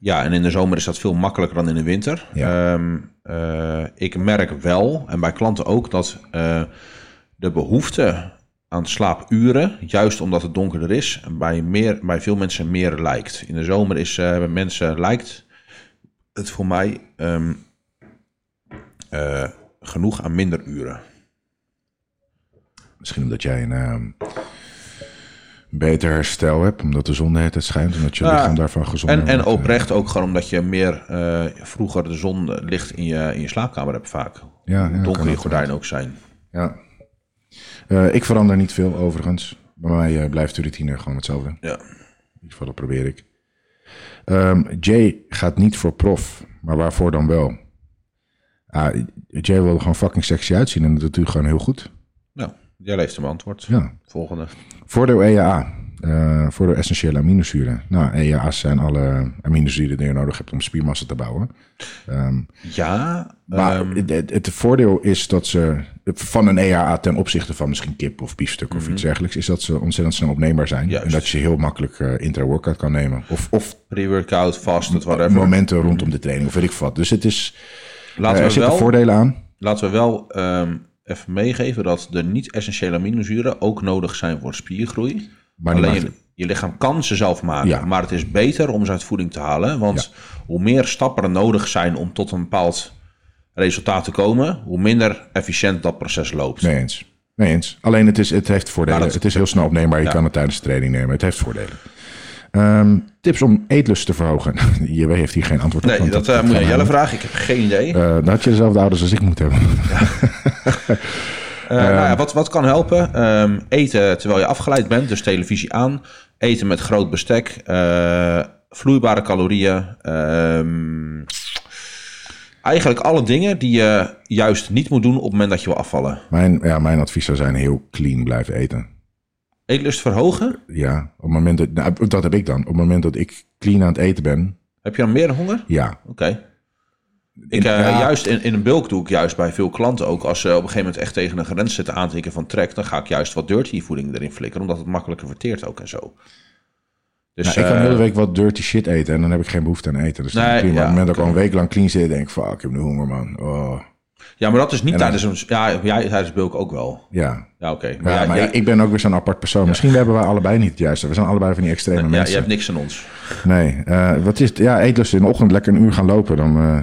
[SPEAKER 2] ja, en in de zomer is dat veel makkelijker dan in de winter.
[SPEAKER 1] Ja.
[SPEAKER 2] Ehm, eh, ik merk wel, en bij klanten ook, dat eh, de behoefte aan slaapuren, juist omdat het donkerder is, bij, meer, bij veel mensen meer lijkt. In de zomer is eh, bij mensen lijkt het voor mij ehm, eh, genoeg aan minder uren.
[SPEAKER 1] Misschien omdat jij een ehm, beter herstel hebt, omdat de zon de hele tijd schijnt, omdat je
[SPEAKER 2] Ja,
[SPEAKER 1] lichaam daarvan gezonder
[SPEAKER 2] En, en
[SPEAKER 1] wordt.
[SPEAKER 2] oprecht ook gewoon omdat je meer eh, vroeger de zon eh, licht in je, in je slaapkamer hebt vaak.
[SPEAKER 1] ja,
[SPEAKER 2] Hoe
[SPEAKER 1] kan
[SPEAKER 2] donker je
[SPEAKER 1] ook
[SPEAKER 2] gordijnen ook zijn.
[SPEAKER 1] Ja. Eh, ik verander niet veel overigens. Bij mij eh, blijft de routine gewoon hetzelfde. In
[SPEAKER 2] Ja.
[SPEAKER 1] ieder geval dat probeer ik. Ehm, Jay gaat niet voor prof, maar waarvoor dan wel? Ah, Jay wil er gewoon fucking sexy uitzien en dat doet hij gewoon heel goed.
[SPEAKER 2] Nou, jij leeft hem antwoord.
[SPEAKER 1] Ja.
[SPEAKER 2] Volgende.
[SPEAKER 1] Voordeel EAA. eh voordeel essentiële aminozuren. Nou, EAA's zijn alle aminozuren die je nodig hebt om spiermassa te bouwen.
[SPEAKER 2] Ja, eh,
[SPEAKER 1] Maar
[SPEAKER 2] Ehm,
[SPEAKER 1] het, het- het voordeel is dat ze van een EAA ten opzichte van misschien kip of biefstuk of iets dergelijks, is dat ze ontzettend snel opneembaar zijn.
[SPEAKER 2] Mhm. Juist.
[SPEAKER 1] En dat je heel makkelijk eh, intra-workout kan nemen. Of, of
[SPEAKER 2] pre-workout, fast, het whatever.
[SPEAKER 1] momenten rondom de training of weet ik wat. Dus het is, eh,
[SPEAKER 2] Laten,
[SPEAKER 1] er
[SPEAKER 2] we
[SPEAKER 1] zitten
[SPEAKER 2] Mhm. wel,
[SPEAKER 1] voordelen aan.
[SPEAKER 2] laten we wel ehm, even meegeven dat de niet-essentiële aminozuren ook nodig zijn voor spiergroei.
[SPEAKER 1] Maar niet
[SPEAKER 2] Alleen
[SPEAKER 1] maakt-
[SPEAKER 2] je, je lichaam kan ze zelf maken.
[SPEAKER 1] Ja.
[SPEAKER 2] Maar het is beter om ze uit voeding te halen. Want hoe meer stappen er nodig zijn om tot een bepaald resultaat te komen, hoe minder efficiënt dat proces loopt.
[SPEAKER 1] Mee eens. Mee eens. Alleen het, is, het heeft voordelen.
[SPEAKER 2] Maar dat-
[SPEAKER 1] het is heel snel opneembaar. Je kan het tijdens de training nemen. Het heeft voordelen. Ehm, tips om eetlust te verhogen. je heeft hier geen antwoord op.
[SPEAKER 2] Nee,
[SPEAKER 1] want
[SPEAKER 2] dat eh, moet je
[SPEAKER 1] gaan
[SPEAKER 2] aan
[SPEAKER 1] we
[SPEAKER 2] Jelle
[SPEAKER 1] niet.
[SPEAKER 2] vragen. Ik heb geen idee.
[SPEAKER 1] Eh, dan had je dezelfde ouders als ik moet hebben.
[SPEAKER 2] Eh,
[SPEAKER 1] Ehm.
[SPEAKER 2] nou ja, wat, wat kan helpen? Ehm, eten terwijl je afgeleid bent, dus televisie aan. Eten met groot bestek. eh, vloeibare calorieën. ehm, eigenlijk alle dingen die je juist niet moet doen op het moment dat je wil afvallen.
[SPEAKER 1] Mijn, ja, mijn advies zou zijn heel clean blijven eten.
[SPEAKER 2] Eetlust verhogen.
[SPEAKER 1] Ja, op het moment dat, nou, dat heb ik dan. Op het moment dat ik clean aan het eten ben,
[SPEAKER 2] Heb je dan meer honger?
[SPEAKER 1] ja.
[SPEAKER 2] Oké. Ik, eh,
[SPEAKER 1] ja.
[SPEAKER 2] Juist in, in een bulk doe ik juist bij veel klanten ook. Als ze op een gegeven moment echt tegen een grens zitten aan te hikken van trek, dan ga ik juist wat dirty voeding erin flikkeren, omdat het makkelijker verteert ook en zo. Dus Dus,
[SPEAKER 1] Nou, ik kan
[SPEAKER 2] eh,
[SPEAKER 1] heel de hele week wat dirty shit eten en dan heb ik geen behoefte aan eten. Dus dan
[SPEAKER 2] Nee,
[SPEAKER 1] prima.
[SPEAKER 2] ja,
[SPEAKER 1] op het moment dat ik
[SPEAKER 2] oké.
[SPEAKER 1] al een week lang clean zit, denk ik, fuck, ik heb nu honger, man. Oh,
[SPEAKER 2] ja, maar dat is niet
[SPEAKER 1] En dan-
[SPEAKER 2] tijdens een... Ja, jij tijdens bulk ook wel.
[SPEAKER 1] ja.
[SPEAKER 2] Ja, oké.
[SPEAKER 1] Ja,
[SPEAKER 2] jij-
[SPEAKER 1] maar
[SPEAKER 2] jij-
[SPEAKER 1] ik- ik ben ook weer zo'n apart persoon. Misschien hebben wij allebei niet het juiste. We zijn allebei van die extreme
[SPEAKER 2] ja, je
[SPEAKER 1] mensen.
[SPEAKER 2] hebt niks aan ons.
[SPEAKER 1] Nee, eh, wat is het? Ja, eetlust in de ochtend lekker een uur gaan lopen. Dan eh,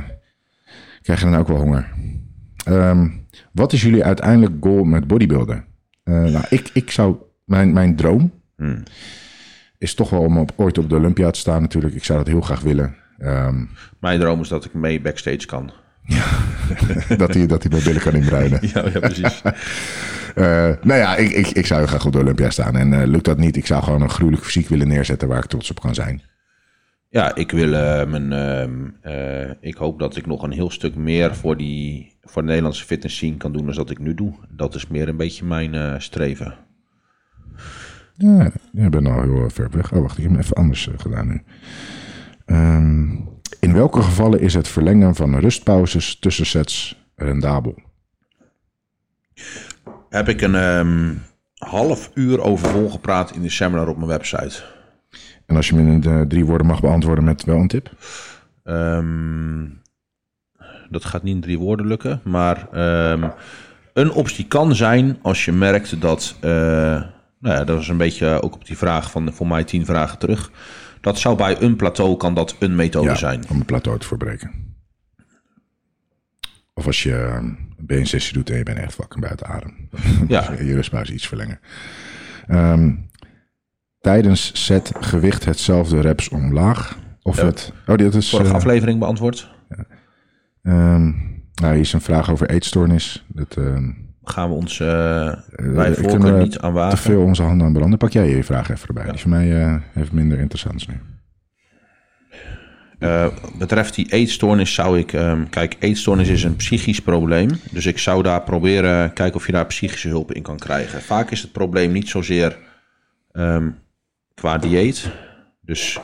[SPEAKER 1] krijg je dan ook wel honger. Ehm, wat is jullie uiteindelijk goal met bodybuilden? Eh, nou, ik, ik zou... Mijn, mijn droom is toch wel om op, ooit op de Olympia te staan natuurlijk. Ik zou dat heel graag willen. Ehm,
[SPEAKER 2] Mijn droom is dat ik mee backstage kan.
[SPEAKER 1] dat hij dat hij mijn billen kan inbruinen.
[SPEAKER 2] Ja, ja precies.
[SPEAKER 1] Eh, nou ja, ik, ik, ik zou heel graag op de Olympia staan. En eh, lukt dat niet, ik zou gewoon een gruwelijk fysiek willen neerzetten waar ik trots op kan zijn.
[SPEAKER 2] ja, ik wil eh, mijn... ehm, eh, ik hoop dat ik nog een heel stuk meer voor, die, voor de Nederlandse fitness scene kan doen dan dat ik nu doe. Dat is meer een beetje mijn eh, streven.
[SPEAKER 1] Ja, ik ben al heel eh, ver weg. Oh, wacht, ik heb hem even anders eh, gedaan nu. Ehm, in welke gevallen is het verlengen van rustpauzes tussen sets rendabel?
[SPEAKER 2] Heb ik een ehm, half uur over volgepraat in de seminar op mijn website.
[SPEAKER 1] En als je me in eh, drie woorden mag beantwoorden met wel een tip?
[SPEAKER 2] Ehm, dat gaat niet in drie woorden lukken, maar ehm, een optie kan zijn als je merkt dat, eh, nou ja, dat was een beetje ook op die vraag van voor mij tien vragen terug. Dat zou bij een plateau kan dat een methode zijn.
[SPEAKER 1] om een plateau te verbreken. Of als je eh, een beensessie doet en je bent echt fucking buiten adem.
[SPEAKER 2] Ja.
[SPEAKER 1] je rustpauze iets verlengen. Ehm, tijdens set gewicht hetzelfde reps omlaag. Of het... Oh, dit is...
[SPEAKER 2] Vorige
[SPEAKER 1] eh,
[SPEAKER 2] aflevering beantwoord.
[SPEAKER 1] Ehm, nou, hier is een vraag over eetstoornis. Dat, ehm,
[SPEAKER 2] Gaan we ons eh bij
[SPEAKER 1] ik
[SPEAKER 2] voorkeur
[SPEAKER 1] kan, eh,
[SPEAKER 2] niet aan
[SPEAKER 1] te
[SPEAKER 2] wagen.
[SPEAKER 1] veel onze handen aan branden. Pak jij je vraag even erbij. Die is voor mij eh, even minder interessant. Nu.
[SPEAKER 2] Eh, betreft die eetstoornis zou ik... ehm, kijk, eetstoornis is een psychisch probleem. Dus ik zou daar proberen... Kijken of je daar psychische hulp in kan krijgen. Vaak is het probleem niet zozeer ehm, qua dieet. Dus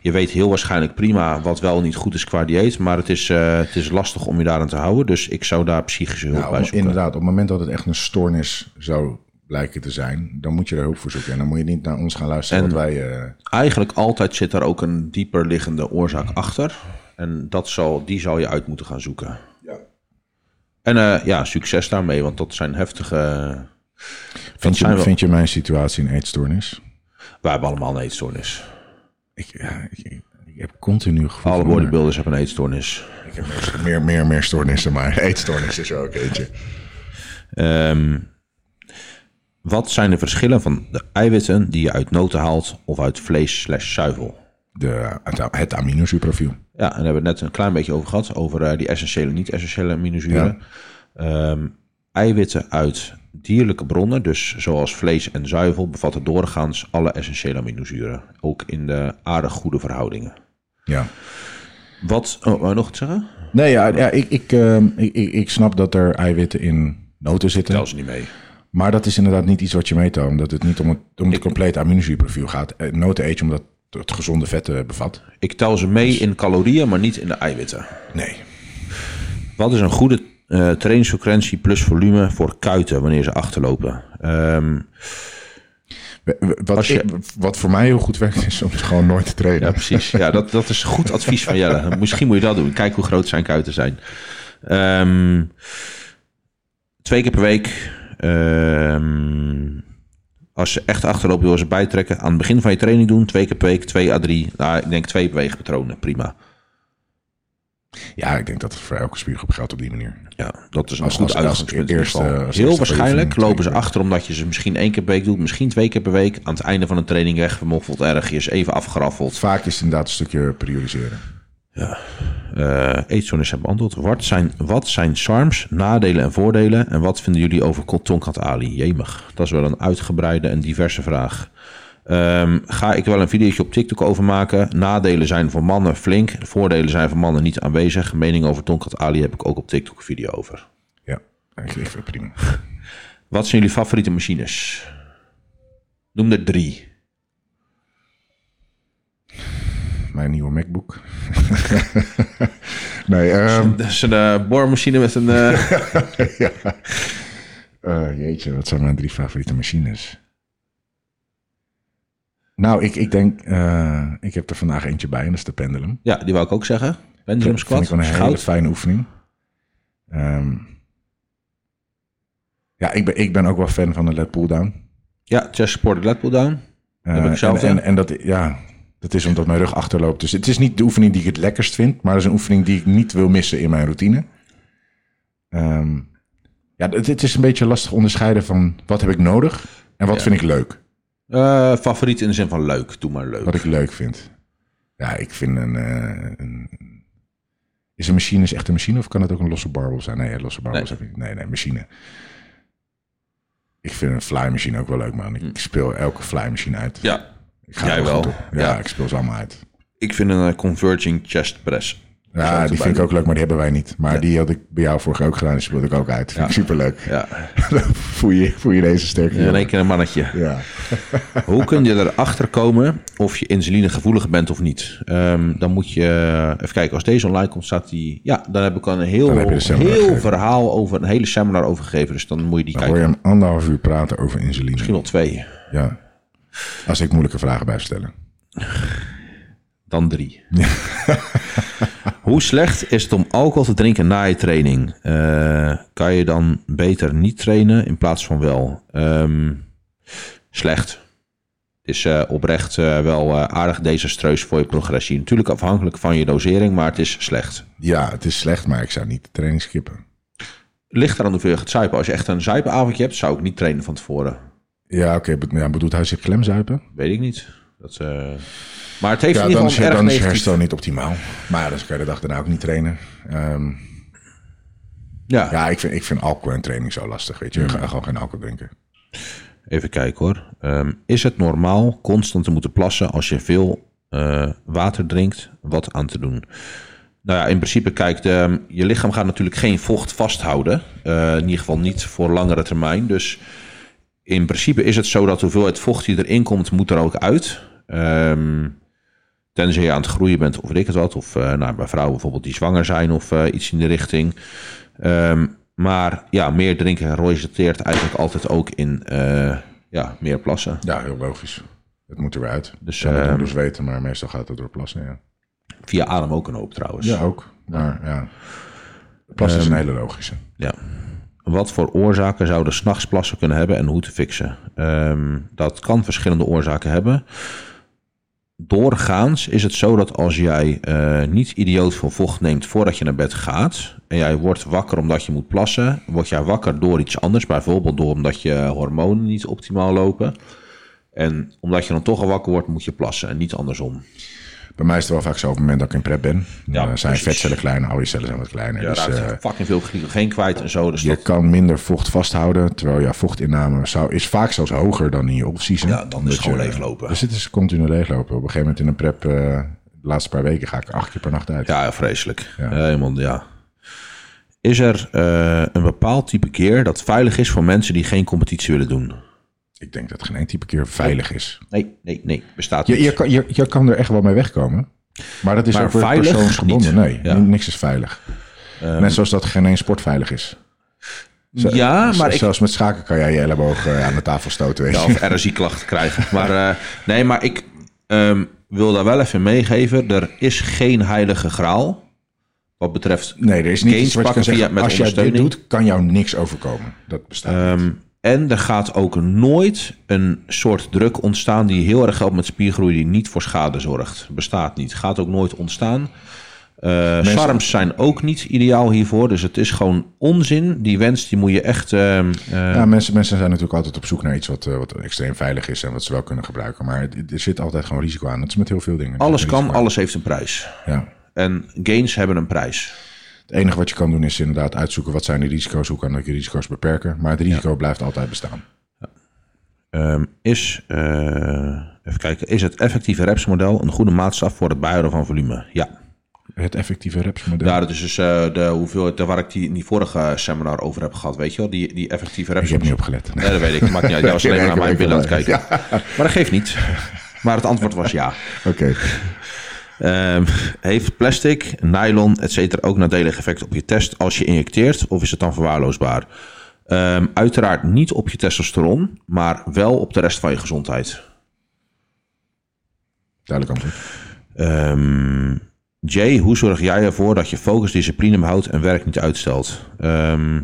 [SPEAKER 2] je weet heel waarschijnlijk prima wat wel niet goed is qua dieet. Maar het is, eh, het is lastig om je daaraan te houden. Dus ik zou daar psychische hulp bij
[SPEAKER 1] Nou,
[SPEAKER 2] zoeken.
[SPEAKER 1] inderdaad, op het moment dat het echt een stoornis zou blijken te zijn, dan moet je er hulp voor zoeken. En dan moet je niet naar ons gaan luisteren. wat wij, eh,
[SPEAKER 2] Eigenlijk altijd zit daar ook een dieper liggende oorzaak achter. En dat zal, die zou je uit moeten gaan zoeken. En eh, ja, succes daarmee, want dat zijn heftige...
[SPEAKER 1] vind,
[SPEAKER 2] zijn
[SPEAKER 1] je,
[SPEAKER 2] we-
[SPEAKER 1] vind je mijn situatie een eetstoornis?
[SPEAKER 2] Wij hebben allemaal een eetstoornis.
[SPEAKER 1] Ik, ja, ik, ik- ik heb continu gevoel van
[SPEAKER 2] Alle
[SPEAKER 1] honger.
[SPEAKER 2] bodybuilders hebben een eetstoornis.
[SPEAKER 1] Ik heb meer, meer, meer, meer stoornissen, maar eetstoornis is er ook eentje.
[SPEAKER 2] Ehm, wat zijn de verschillen van de eiwitten die je uit noten haalt of uit vlees slash zuivel?
[SPEAKER 1] De, het, het aminozuurprofiel.
[SPEAKER 2] Ja, en daar hebben we het net een klein beetje over gehad, over eh, die essentiële en niet-essentiële aminozuren. Ehm, eiwitten uit dierlijke bronnen, dus zoals vlees en zuivel, bevatten doorgaans alle essentiële aminozuren. Ook in de aardig goede verhoudingen.
[SPEAKER 1] Ja.
[SPEAKER 2] Wat, oh, wou je nog iets zeggen?
[SPEAKER 1] Nee, ja, ja ik, ik, ehm, ik, ik, ik snap dat er eiwitten in noten zitten.
[SPEAKER 2] Tel ze niet mee.
[SPEAKER 1] Maar dat is inderdaad niet iets wat je meetoont. Omdat het niet om het, om het complete aminozuurprofiel gaat. Eh, Noten eet je omdat het gezonde vetten bevat.
[SPEAKER 2] Ik tel ze mee in calorieën, maar niet in de eiwitten.
[SPEAKER 1] Nee.
[SPEAKER 2] Wat is een goede eh trainingsfrequentie plus volume voor kuiten wanneer ze achterlopen? Ehm,
[SPEAKER 1] We- we- Wat,
[SPEAKER 2] Als je-
[SPEAKER 1] ik- wat voor mij heel goed werkt, is om gewoon nooit te trainen.
[SPEAKER 2] ja, precies. Ja, dat, dat is goed advies van Jelle. Misschien moet je dat doen. Kijk hoe groot zijn kuiten zijn. Ehm, twee keer per week. ehm, als ze echt achterlopen, wil ze bijtrekken. Aan het begin van je training doen. Twee keer per week. Twee à drie. Nou, ik denk twee beweegpatronen. Prima.
[SPEAKER 1] Ja, ik denk dat het voor elke spiergroep geldt op die manier.
[SPEAKER 2] Ja, dat is een
[SPEAKER 1] Als-
[SPEAKER 2] goed
[SPEAKER 1] als- als
[SPEAKER 2] uitgangspunt. in ieder
[SPEAKER 1] eerste-
[SPEAKER 2] geval.
[SPEAKER 1] als
[SPEAKER 2] Heel
[SPEAKER 1] eerste
[SPEAKER 2] waarschijnlijk
[SPEAKER 1] oefening,
[SPEAKER 2] lopen ze
[SPEAKER 1] twee keer.
[SPEAKER 2] achter omdat je ze misschien één keer per week doet, misschien twee keer per week. Aan het einde van een training weggemoffeld ergens, even afgeraffeld.
[SPEAKER 1] Vaak is het inderdaad een stukje prioriseren.
[SPEAKER 2] Eh Eetstoornis hebben beantwoord. Wat zijn, wat zijn SARMs, nadelen en voordelen? En wat vinden jullie over Tonkat Ali? Jemig. Dat is wel een uitgebreide en diverse vraag. Ehm, ga ik wel een videootje op TikTok over maken. Nadelen zijn voor mannen flink. Voordelen zijn voor mannen niet aanwezig. Mening over Tonkat Ali heb ik ook op TikTok een video over.
[SPEAKER 1] Ja, ik vind het prima.
[SPEAKER 2] Wat zijn jullie favoriete machines? Noem er drie.
[SPEAKER 1] Mijn nieuwe MacBook. nee, ehm,
[SPEAKER 2] Dat is een eh, boormachine met een... eh,
[SPEAKER 1] eh, jeetje, wat zijn mijn drie favoriete machines? Nou, ik, ik denk, eh, ik heb er vandaag eentje bij en dat is de pendulum.
[SPEAKER 2] Ja, die wou ik ook zeggen. Pendulum
[SPEAKER 1] Dat vind
[SPEAKER 2] squat,
[SPEAKER 1] ik wel een hele
[SPEAKER 2] schout.
[SPEAKER 1] fijne oefening. Ehm, ja, ik ben, ik ben ook wel fan van de lat pull down.
[SPEAKER 2] Ja, chest supported lat pull down.
[SPEAKER 1] Eh,
[SPEAKER 2] Heb ik zelf,
[SPEAKER 1] en,
[SPEAKER 2] ja.
[SPEAKER 1] en, en dat, ja, dat is omdat mijn rug achterloopt. Dus het is niet de oefening die ik het lekkerst vind, maar het is een oefening die ik niet wil missen in mijn routine. Ehm, ja, het, het is een beetje lastig onderscheiden van wat heb ik nodig en wat vind ik leuk.
[SPEAKER 2] Eh, favoriet in de zin van leuk. Doe maar leuk.
[SPEAKER 1] Wat ik leuk vind. Ja, ik vind een, eh, een- Is een machine is echt een machine of kan het ook een losse barbel zijn? Nee, losse barbels heb ik niet. Nee, nee, machine. Ik vind een fly machine ook wel leuk, man. Ik speel elke fly machine uit.
[SPEAKER 2] Ja,
[SPEAKER 1] ik ga
[SPEAKER 2] Hm. jij
[SPEAKER 1] er goed
[SPEAKER 2] wel.
[SPEAKER 1] op. Ja,
[SPEAKER 2] Ja.
[SPEAKER 1] ik speel ze allemaal uit.
[SPEAKER 2] ik vind een eh, converging chest press.
[SPEAKER 1] Ja, die vind ik ook leuk, maar die hebben wij niet. Maar die had ik bij jou vorig jaar ook gedaan. Die speelde ik ook uit. Vind ik superleuk.
[SPEAKER 2] Ja,
[SPEAKER 1] Dan voel je, voel je deze sterke
[SPEAKER 2] in één
[SPEAKER 1] jongen.
[SPEAKER 2] keer een mannetje.
[SPEAKER 1] Ja.
[SPEAKER 2] Hoe kun je erachter komen of je insulinegevoelig bent of niet? Ehm, dan moet je even kijken. Als deze online komt, staat die. Ja, daar heb ik al een heel,
[SPEAKER 1] Dan heb je de seminar
[SPEAKER 2] heel
[SPEAKER 1] gegeven.
[SPEAKER 2] verhaal over een hele seminar over gegeven. Dus dan moet je die
[SPEAKER 1] Dan hoor
[SPEAKER 2] kijken.
[SPEAKER 1] je hem anderhalf uur praten over insuline.
[SPEAKER 2] Misschien wel twee,
[SPEAKER 1] Ja. Als ik moeilijke vragen blijf stellen.
[SPEAKER 2] dan drie. Hoe slecht is het om alcohol te drinken na je training? Eh, kan je dan beter niet trainen in plaats van wel? Ehm, slecht. Het is eh, oprecht eh, wel eh, aardig desastreus voor je progressie. Natuurlijk afhankelijk van je dosering, maar het is slecht.
[SPEAKER 1] Ja, het is slecht, maar ik zou niet de training skippen.
[SPEAKER 2] ligt eraan hoeveel je gaat zuipen. Als je echt een zuipenavondje hebt, zou ik niet trainen van tevoren.
[SPEAKER 1] Ja, oké. be- ja, bedoelt hij zich klemzuipen?
[SPEAKER 2] Weet ik niet. Dat, eh, Maar het heeft
[SPEAKER 1] Ja, dan
[SPEAKER 2] in ieder
[SPEAKER 1] is,
[SPEAKER 2] geval een erg
[SPEAKER 1] dan is je
[SPEAKER 2] negatief...
[SPEAKER 1] herstel niet optimaal. Maar ja, dan kan je de dag daarna ook niet trainen. Ehm,
[SPEAKER 2] Ja.
[SPEAKER 1] ja, ik vind, ik vind alcohol en training zo lastig, weet je.
[SPEAKER 2] Mm.
[SPEAKER 1] Ga gewoon geen alcohol drinken.
[SPEAKER 2] even kijken hoor. Ehm, is het normaal constant te moeten plassen als je veel eh, water drinkt? Wat aan te doen? Nou ja, in principe, kijk, de, je lichaam gaat natuurlijk geen vocht vasthouden. Eh, in ieder geval niet voor langere termijn. Dus in principe is het zo dat de hoeveelheid vocht die erin komt, moet er ook uit. Ehm, tenzij je aan het groeien bent of weet ik het wat. Of eh, nou, bij vrouwen bijvoorbeeld die zwanger zijn of eh, iets in de richting. Ehm, maar ja, meer drinken resulteert eigenlijk altijd ook in eh, ja, meer plassen.
[SPEAKER 1] Ja, heel logisch. Het moet er weer uit.
[SPEAKER 2] Dus,
[SPEAKER 1] Dus, ja, dat
[SPEAKER 2] ehm,
[SPEAKER 1] doen dus weten, maar meestal gaat het door plassen, ja.
[SPEAKER 2] Via adem ook een hoop trouwens.
[SPEAKER 1] Ja, ook. Maar ja, plassen
[SPEAKER 2] Ehm,
[SPEAKER 1] is een hele logische.
[SPEAKER 2] Ja. Wat voor oorzaken zouden 's nachts plassen kunnen hebben en hoe te fixen? Ehm, dat kan verschillende oorzaken hebben. Doorgaans is het zo dat als jij eh, niet idioot veel vocht neemt voordat je naar bed gaat en jij wordt wakker omdat je moet plassen, word jij wakker door iets anders, bijvoorbeeld door omdat je hormonen niet optimaal lopen. En omdat je dan toch al wakker wordt, moet je plassen en niet andersom.
[SPEAKER 1] Bij mij is het wel vaak zo op het moment dat ik in prep ben. Dan
[SPEAKER 2] Ja,
[SPEAKER 1] eh, zijn
[SPEAKER 2] precies.
[SPEAKER 1] vetcellen kleiner, oude cellen zijn wat kleiner.
[SPEAKER 2] Ja,
[SPEAKER 1] dus,
[SPEAKER 2] raakt
[SPEAKER 1] eh,
[SPEAKER 2] fucking veel glycogeen kwijt en zo. Dus
[SPEAKER 1] Je
[SPEAKER 2] dat-
[SPEAKER 1] kan minder vocht vasthouden, terwijl jouw vochtinname zou, is vaak zelfs hoger dan in je off-season.
[SPEAKER 2] Ja, dan is
[SPEAKER 1] Omdat
[SPEAKER 2] het gewoon
[SPEAKER 1] je-
[SPEAKER 2] leeglopen.
[SPEAKER 1] Dus het is continu leeglopen. Op een gegeven moment in een prep, eh, de laatste paar weken ga ik acht keer per nacht uit.
[SPEAKER 2] Ja, ja, vreselijk. Ja. Helemaal, ja. Is er eh, een bepaald type keer dat veilig is voor mensen die geen competitie willen doen?
[SPEAKER 1] Ik denk dat geen één type keer veilig is.
[SPEAKER 2] Nee, nee, nee. Bestaat
[SPEAKER 1] Je,
[SPEAKER 2] niet.
[SPEAKER 1] je, kan, je, je kan er echt wel mee wegkomen. Maar dat is
[SPEAKER 2] Maar
[SPEAKER 1] ook weer
[SPEAKER 2] veilig
[SPEAKER 1] persoonsgebonden.
[SPEAKER 2] niet.
[SPEAKER 1] Nee,
[SPEAKER 2] Ja. Ehm.
[SPEAKER 1] n- niks is veilig. Net zoals dat geen één sport veilig is.
[SPEAKER 2] ja,
[SPEAKER 1] Z-
[SPEAKER 2] Ah, maar ik...
[SPEAKER 1] Zelfs met schaken kan jij je elleboog eh, aan de tafel stoten. Weet
[SPEAKER 2] Ja,
[SPEAKER 1] je.
[SPEAKER 2] of RSI-klachten krijgen. Maar eh, nee, maar ik ehm, wil daar wel even meegeven. Er is geen heilige graal wat betreft...
[SPEAKER 1] Nee, er is niet
[SPEAKER 2] Gains
[SPEAKER 1] iets wat je
[SPEAKER 2] pakken
[SPEAKER 1] kan
[SPEAKER 2] via-
[SPEAKER 1] zeggen.
[SPEAKER 2] met
[SPEAKER 1] Als jij dit
[SPEAKER 2] ondersteuning.
[SPEAKER 1] doet, kan jou niks overkomen. Dat bestaat niet.
[SPEAKER 2] Ehm, en er gaat ook nooit een soort druk ontstaan die heel erg helpt met spiergroei, die niet voor schade zorgt. Bestaat niet. Gaat ook nooit ontstaan. Eh SARMs zijn ook niet ideaal hiervoor. Dus het is gewoon onzin. Die wens die moet je echt. ehm, eh,
[SPEAKER 1] Ja, mensen, mensen zijn natuurlijk altijd op zoek naar iets wat, eh, wat extreem veilig is en wat ze wel kunnen gebruiken. Maar het- er zit altijd gewoon risico aan. Dat is met heel veel dingen.
[SPEAKER 2] alles
[SPEAKER 1] Dat
[SPEAKER 2] kan,
[SPEAKER 1] risico.
[SPEAKER 2] alles heeft een prijs.
[SPEAKER 1] Ja.
[SPEAKER 2] En gains hebben een prijs.
[SPEAKER 1] Het enige wat je kan doen is inderdaad uitzoeken wat zijn de risico's, hoe kan ik je risico's beperken. Maar het risico blijft altijd bestaan.
[SPEAKER 2] Ehm, is, eh, even kijken, is het effectieve repsmodel een goede maatstaf voor het bijhouden van volume? Ja.
[SPEAKER 1] Het effectieve repsmodel.
[SPEAKER 2] Ja, dat is dus eh, de hoeveelheid daar waar ik die in die vorige seminar over heb gehad, weet je wel? Die, die effectieve reps.
[SPEAKER 1] ik heb niet opgelet.
[SPEAKER 2] Nee, dat weet ik. Maakt niet uit. Jij was alleen maar naar mijn billen aan het kijken.
[SPEAKER 1] Ja,
[SPEAKER 2] Maar dat geeft niet. Maar het antwoord was ja.
[SPEAKER 1] Oké.
[SPEAKER 2] Ehm, heeft plastic, nylon, et cetera ook nadelige effecten op je test als je injecteert? Of is het dan verwaarloosbaar? Ehm, uiteraard niet op je testosteron, maar wel op de rest van je gezondheid.
[SPEAKER 1] Duidelijk antwoord.
[SPEAKER 2] Ehm, Jay, hoe zorg jij ervoor dat je focus, discipline behoudt en werk niet uitstelt? Ehm,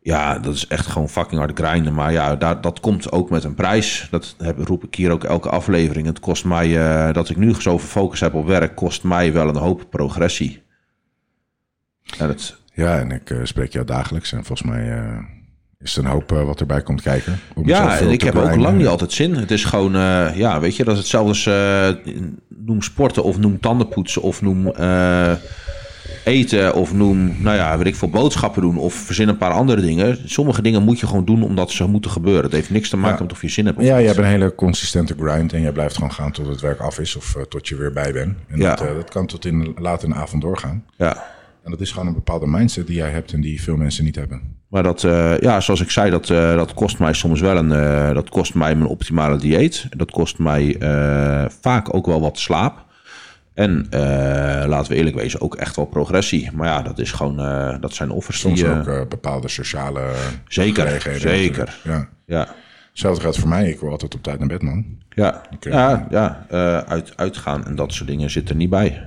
[SPEAKER 2] ja, dat is echt gewoon fucking hard grinden. Maar ja, daar, dat komt ook met een prijs. Dat heb, roep ik hier ook elke aflevering. Het kost mij, eh, dat ik nu zoveel focus heb op werk, kost mij wel een hoop progressie. En het,
[SPEAKER 1] Ja, en ik eh, spreek jou dagelijks. En volgens mij eh, is er een hoop eh, wat erbij komt kijken. Om
[SPEAKER 2] Ja,
[SPEAKER 1] zoveel
[SPEAKER 2] en ik
[SPEAKER 1] te
[SPEAKER 2] heb ook
[SPEAKER 1] grinden.
[SPEAKER 2] lang niet altijd zin. Het is gewoon, eh, ja, weet je, dat is hetzelfde als eh, noem sporten of noem tandenpoetsen of noem eh, eten of noem, nou ja, weet ik veel, boodschappen doen of verzin een paar andere dingen. Sommige dingen moet je gewoon doen omdat ze moeten gebeuren. Het heeft niks te maken met of je zin hebt. of
[SPEAKER 1] Ja,
[SPEAKER 2] niet.
[SPEAKER 1] je hebt een hele consistente grind en jij blijft gewoon gaan tot het werk af is of eh, tot je weer bij bent. En
[SPEAKER 2] Ja.
[SPEAKER 1] dat, eh, dat kan tot in laat in de avond doorgaan.
[SPEAKER 2] ja.
[SPEAKER 1] En dat is gewoon een bepaalde mindset die jij hebt en die veel mensen niet hebben.
[SPEAKER 2] Maar dat, eh, ja, zoals ik zei, dat, eh, dat kost mij soms wel een. eh, dat kost mij mijn optimale dieet. Dat kost mij eh, vaak ook wel wat slaap. En eh, laten we eerlijk wezen, ook echt wel progressie. Maar ja, dat is gewoon. eh, dat zijn offers
[SPEAKER 1] Soms
[SPEAKER 2] die. eh,
[SPEAKER 1] ook eh, bepaalde sociale
[SPEAKER 2] Zeker,
[SPEAKER 1] gelegenheden
[SPEAKER 2] zeker.
[SPEAKER 1] natuurlijk. Ja.
[SPEAKER 2] ja,
[SPEAKER 1] Hetzelfde geldt voor mij. Ik wil altijd op tijd naar bed, man.
[SPEAKER 2] ja,
[SPEAKER 1] Oké.
[SPEAKER 2] ja, ja eh, uit, uitgaan en dat soort dingen zit er niet bij.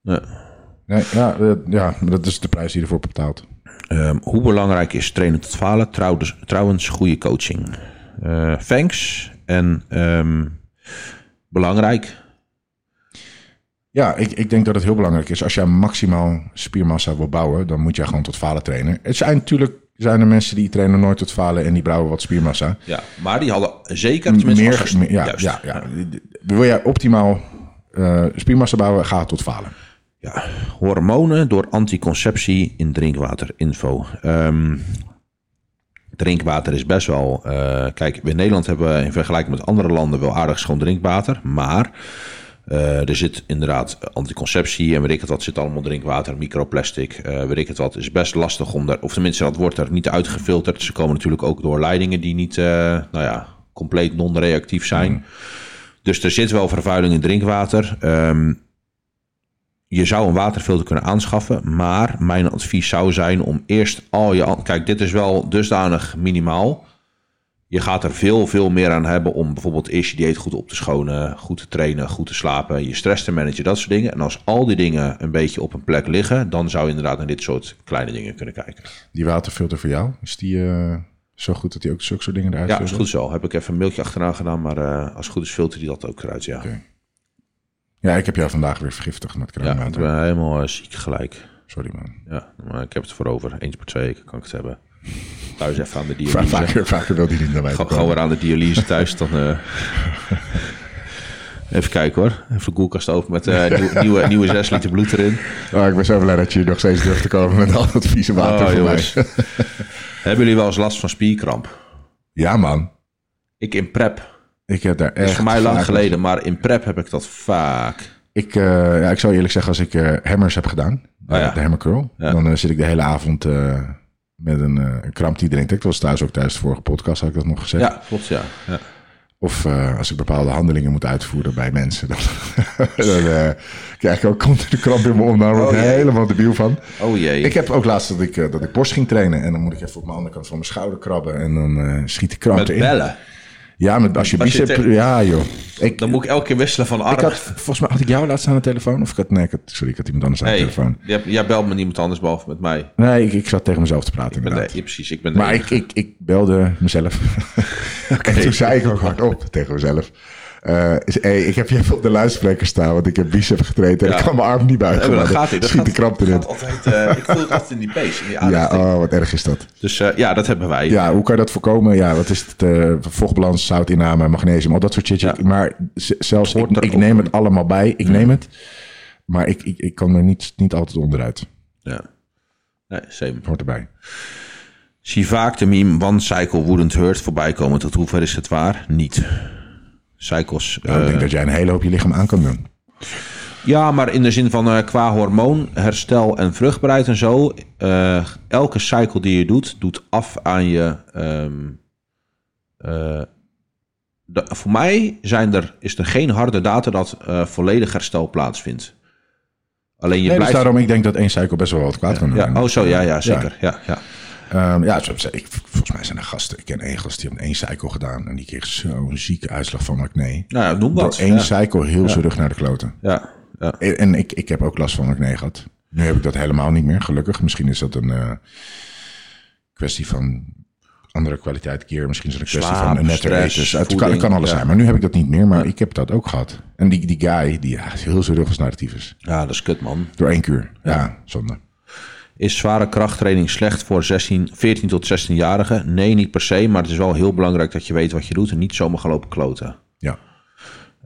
[SPEAKER 2] Nee.
[SPEAKER 1] Nee, ja, eh, ja, maar dat is de prijs die je ervoor betaalt.
[SPEAKER 2] Ehm, hoe belangrijk is trainen tot falen? Trouwens, trouwens goede coaching. Eh, thanks. En ehm, belangrijk.
[SPEAKER 1] Ja, ik, ik denk dat het heel belangrijk is. Als jij maximaal spiermassa wil bouwen, dan moet jij gewoon tot falen trainen. Het zijn natuurlijk zijn er mensen die trainen nooit tot falen en die brouwen wat spiermassa.
[SPEAKER 2] Ja, maar die hadden zeker tenminste als
[SPEAKER 1] meer,
[SPEAKER 2] gast-
[SPEAKER 1] meer- ja,
[SPEAKER 2] juist.
[SPEAKER 1] ja, ja. Wil jij optimaal eh, spiermassa bouwen, ga tot falen.
[SPEAKER 2] Ja. Hormonen door anticonceptie in drinkwaterinfo. Ehm drinkwater is best wel... eh, kijk, in Nederland hebben we in vergelijking met andere landen wel aardig schoon drinkwater. Maar eh, er zit inderdaad anticonceptie en weet ik het wat. zit allemaal drinkwater, microplastic, eh weet ik het wat. is best lastig om daar... Of tenminste, dat wordt er niet uitgefilterd. Ze komen natuurlijk ook door leidingen die niet, eh, nou ja, compleet non-reactief zijn. Dus er zit wel vervuiling in drinkwater. Ehm, je zou een waterfilter kunnen aanschaffen, maar mijn advies zou zijn om eerst al je... an- Kijk, dit is wel dusdanig minimaal. Je gaat er veel, veel meer aan hebben om bijvoorbeeld eerst je dieet goed op te schonen, goed te trainen, goed te slapen, je stress te managen, dat soort dingen. En als al die dingen een beetje op een plek liggen, dan zou je inderdaad naar dit soort kleine dingen kunnen kijken.
[SPEAKER 1] Die waterfilter voor jou, is die eh, zo goed dat die ook zulke soort dingen eruit
[SPEAKER 2] Ja, is
[SPEAKER 1] filtert?
[SPEAKER 2] goed zo. Heb ik even een mailtje achteraan gedaan, maar eh, als het goed is filter die dat ook eruit, ja.
[SPEAKER 1] Ja, ik heb jou vandaag weer vergiftigd met
[SPEAKER 2] Ja, ik
[SPEAKER 1] kruidenwater.
[SPEAKER 2] ben helemaal eh, ziek gelijk.
[SPEAKER 1] Sorry man.
[SPEAKER 2] Ja, maar ik heb het voor over. Eens per twee weken kan ik het hebben. Thuis even aan de
[SPEAKER 1] Va-
[SPEAKER 2] dialyse.
[SPEAKER 1] Vaker, vaker wil die niet naar mij
[SPEAKER 2] Ga
[SPEAKER 1] komen.
[SPEAKER 2] gewoon weer aan de dialyse thuis. Dan, eh, Even kijken hoor. Even de koelkast open met eh, nieuw- nieuwe, nieuwe 6 liter bloed erin.
[SPEAKER 1] Oh, ik ben zo blij dat je hier nog steeds durft te komen met al dat vieze water
[SPEAKER 2] Oh,
[SPEAKER 1] voor
[SPEAKER 2] jongens.
[SPEAKER 1] mij.
[SPEAKER 2] Hebben jullie wel eens last van spierkramp?
[SPEAKER 1] Ja man,
[SPEAKER 2] Ik in prep.
[SPEAKER 1] ik heb daar echt...
[SPEAKER 2] Dat is voor mij lang
[SPEAKER 1] vaak-
[SPEAKER 2] geleden, maar in prep heb ik dat vaak.
[SPEAKER 1] Ik, eh, ja, ik zou eerlijk zeggen, als ik eh, hammers heb gedaan, eh,
[SPEAKER 2] Oh, ja.
[SPEAKER 1] de hammer curl, dan eh, zit ik de hele avond eh, met een, eh, een kramp die drinkt. Ik was thuis ook tijdens de vorige podcast, had ik dat nog gezegd.
[SPEAKER 2] Ja, klopt ja. ja.
[SPEAKER 1] Of eh, als ik bepaalde handelingen moet uitvoeren bij mensen, dan, dan eh, krijg ik ook continu kramp in mijn om. Daar word ik
[SPEAKER 2] Oh, jee.
[SPEAKER 1] helemaal debiel van.
[SPEAKER 2] Oh jee.
[SPEAKER 1] Ik heb ook laatst dat ik, eh, dat ik borst ging trainen. En dan moet ik even op mijn andere kant van mijn schouder krabben. En dan eh, schiet de kramp
[SPEAKER 2] Met
[SPEAKER 1] erin.
[SPEAKER 2] bellen.
[SPEAKER 1] Ja, met, als je
[SPEAKER 2] Als je
[SPEAKER 1] bicep...
[SPEAKER 2] te-
[SPEAKER 1] Ja, joh. Ik,
[SPEAKER 2] Dan moet ik elke keer wisselen van arm.
[SPEAKER 1] ik had, volgens mij had ik jou laatst aan de telefoon. Of ik had... Nee, ik had, sorry, ik had iemand anders aan
[SPEAKER 2] Hey,
[SPEAKER 1] de telefoon.
[SPEAKER 2] jij, jij belt met niemand anders behalve met mij. Ik
[SPEAKER 1] Nee, ik, ik zat tegen mezelf te praten
[SPEAKER 2] ben de-
[SPEAKER 1] inderdaad.
[SPEAKER 2] ja, precies, ik ben de
[SPEAKER 1] Maar ik,
[SPEAKER 2] enige.
[SPEAKER 1] ik, ik belde mezelf. en toen zei ik ook hardop tegen mezelf. eh, is- hey, ik heb je even op de luidspreker staan, want ik heb bicep getraind en
[SPEAKER 2] Ja.
[SPEAKER 1] ik kan mijn arm niet buigen.
[SPEAKER 2] Nee,
[SPEAKER 1] maar
[SPEAKER 2] maar
[SPEAKER 1] dan
[SPEAKER 2] dat Eh, gaat hij. Dat
[SPEAKER 1] schiet
[SPEAKER 2] gaat,
[SPEAKER 1] de kramp erin.
[SPEAKER 2] gaat altijd, eh, ik voel het altijd in die pees. In die
[SPEAKER 1] Ja,
[SPEAKER 2] aders.
[SPEAKER 1] oh, wat erg is dat.
[SPEAKER 2] Dus eh, ja, dat hebben wij.
[SPEAKER 1] Ja, hoe kan je dat voorkomen? Ja, wat is het? eh, vochtbalans, zoutinname, magnesium, al dat soort shit.
[SPEAKER 2] Ja.
[SPEAKER 1] Maar z- zelfs, ik,
[SPEAKER 2] hoort Mm. er
[SPEAKER 1] ik
[SPEAKER 2] ook.
[SPEAKER 1] neem het allemaal bij. Ik neem het. Maar ik, ik, ik kan er niet, niet altijd onderuit. Het
[SPEAKER 2] Ja. Nee, same.
[SPEAKER 1] hoort erbij.
[SPEAKER 2] Zie vaak de meme One Cycle Wouldn't Hurt voorbij komen. Tot hoever is het waar? Niet. Cycles. eh,
[SPEAKER 1] Nou, ik denk dat jij een hele hoop je lichaam aan kan doen.
[SPEAKER 2] ja, maar in de zin van eh, qua hormoon, herstel en vruchtbaarheid en zo. eh, elke cycle die je doet, doet af aan je. ehm, eh, de- voor mij zijn er, is er geen harde data dat eh, volledig herstel plaatsvindt. Alleen je
[SPEAKER 1] Nee, dus
[SPEAKER 2] blijft. oh.
[SPEAKER 1] daarom, ik denk dat één cycle best wel wat kwaad kan doen.
[SPEAKER 2] Ja, oh, zo, ja, ja, zeker. Ja, ja.
[SPEAKER 1] Ehm, ja, zo- ik, volgens mij zijn er gasten. Ik ken één gast die heeft één cycle gedaan. En die kreeg zo'n zieke uitslag van McNee.
[SPEAKER 2] Nou ja, noem
[SPEAKER 1] Door
[SPEAKER 2] wat.
[SPEAKER 1] één
[SPEAKER 2] Ja.
[SPEAKER 1] cycle heel zijn rug naar de kloten.
[SPEAKER 2] Ja, ja.
[SPEAKER 1] En en ik, ik heb ook last van McNee gehad. Nu heb ik dat helemaal niet meer, gelukkig. Misschien is dat een eh, kwestie van andere kwaliteit keer. Misschien is het een kwestie
[SPEAKER 2] Slaap,
[SPEAKER 1] van een nette
[SPEAKER 2] stress,
[SPEAKER 1] races. Het kan,
[SPEAKER 2] voeding,
[SPEAKER 1] het kan alles
[SPEAKER 2] ja.
[SPEAKER 1] zijn. Maar nu heb ik dat niet meer. Maar ik heb dat ook gehad. En die, die guy, die ja, heel zijn rug was naar de tyfus.
[SPEAKER 2] ja, dat is kut, man.
[SPEAKER 1] Door één kuur. Ja, zonde.
[SPEAKER 2] Is zware krachttraining slecht voor 16, 14 tot 16-jarigen? Nee, niet per se, maar het is wel heel belangrijk dat je weet wat je doet en niet zomaar gaan lopen kloten.
[SPEAKER 1] Ja.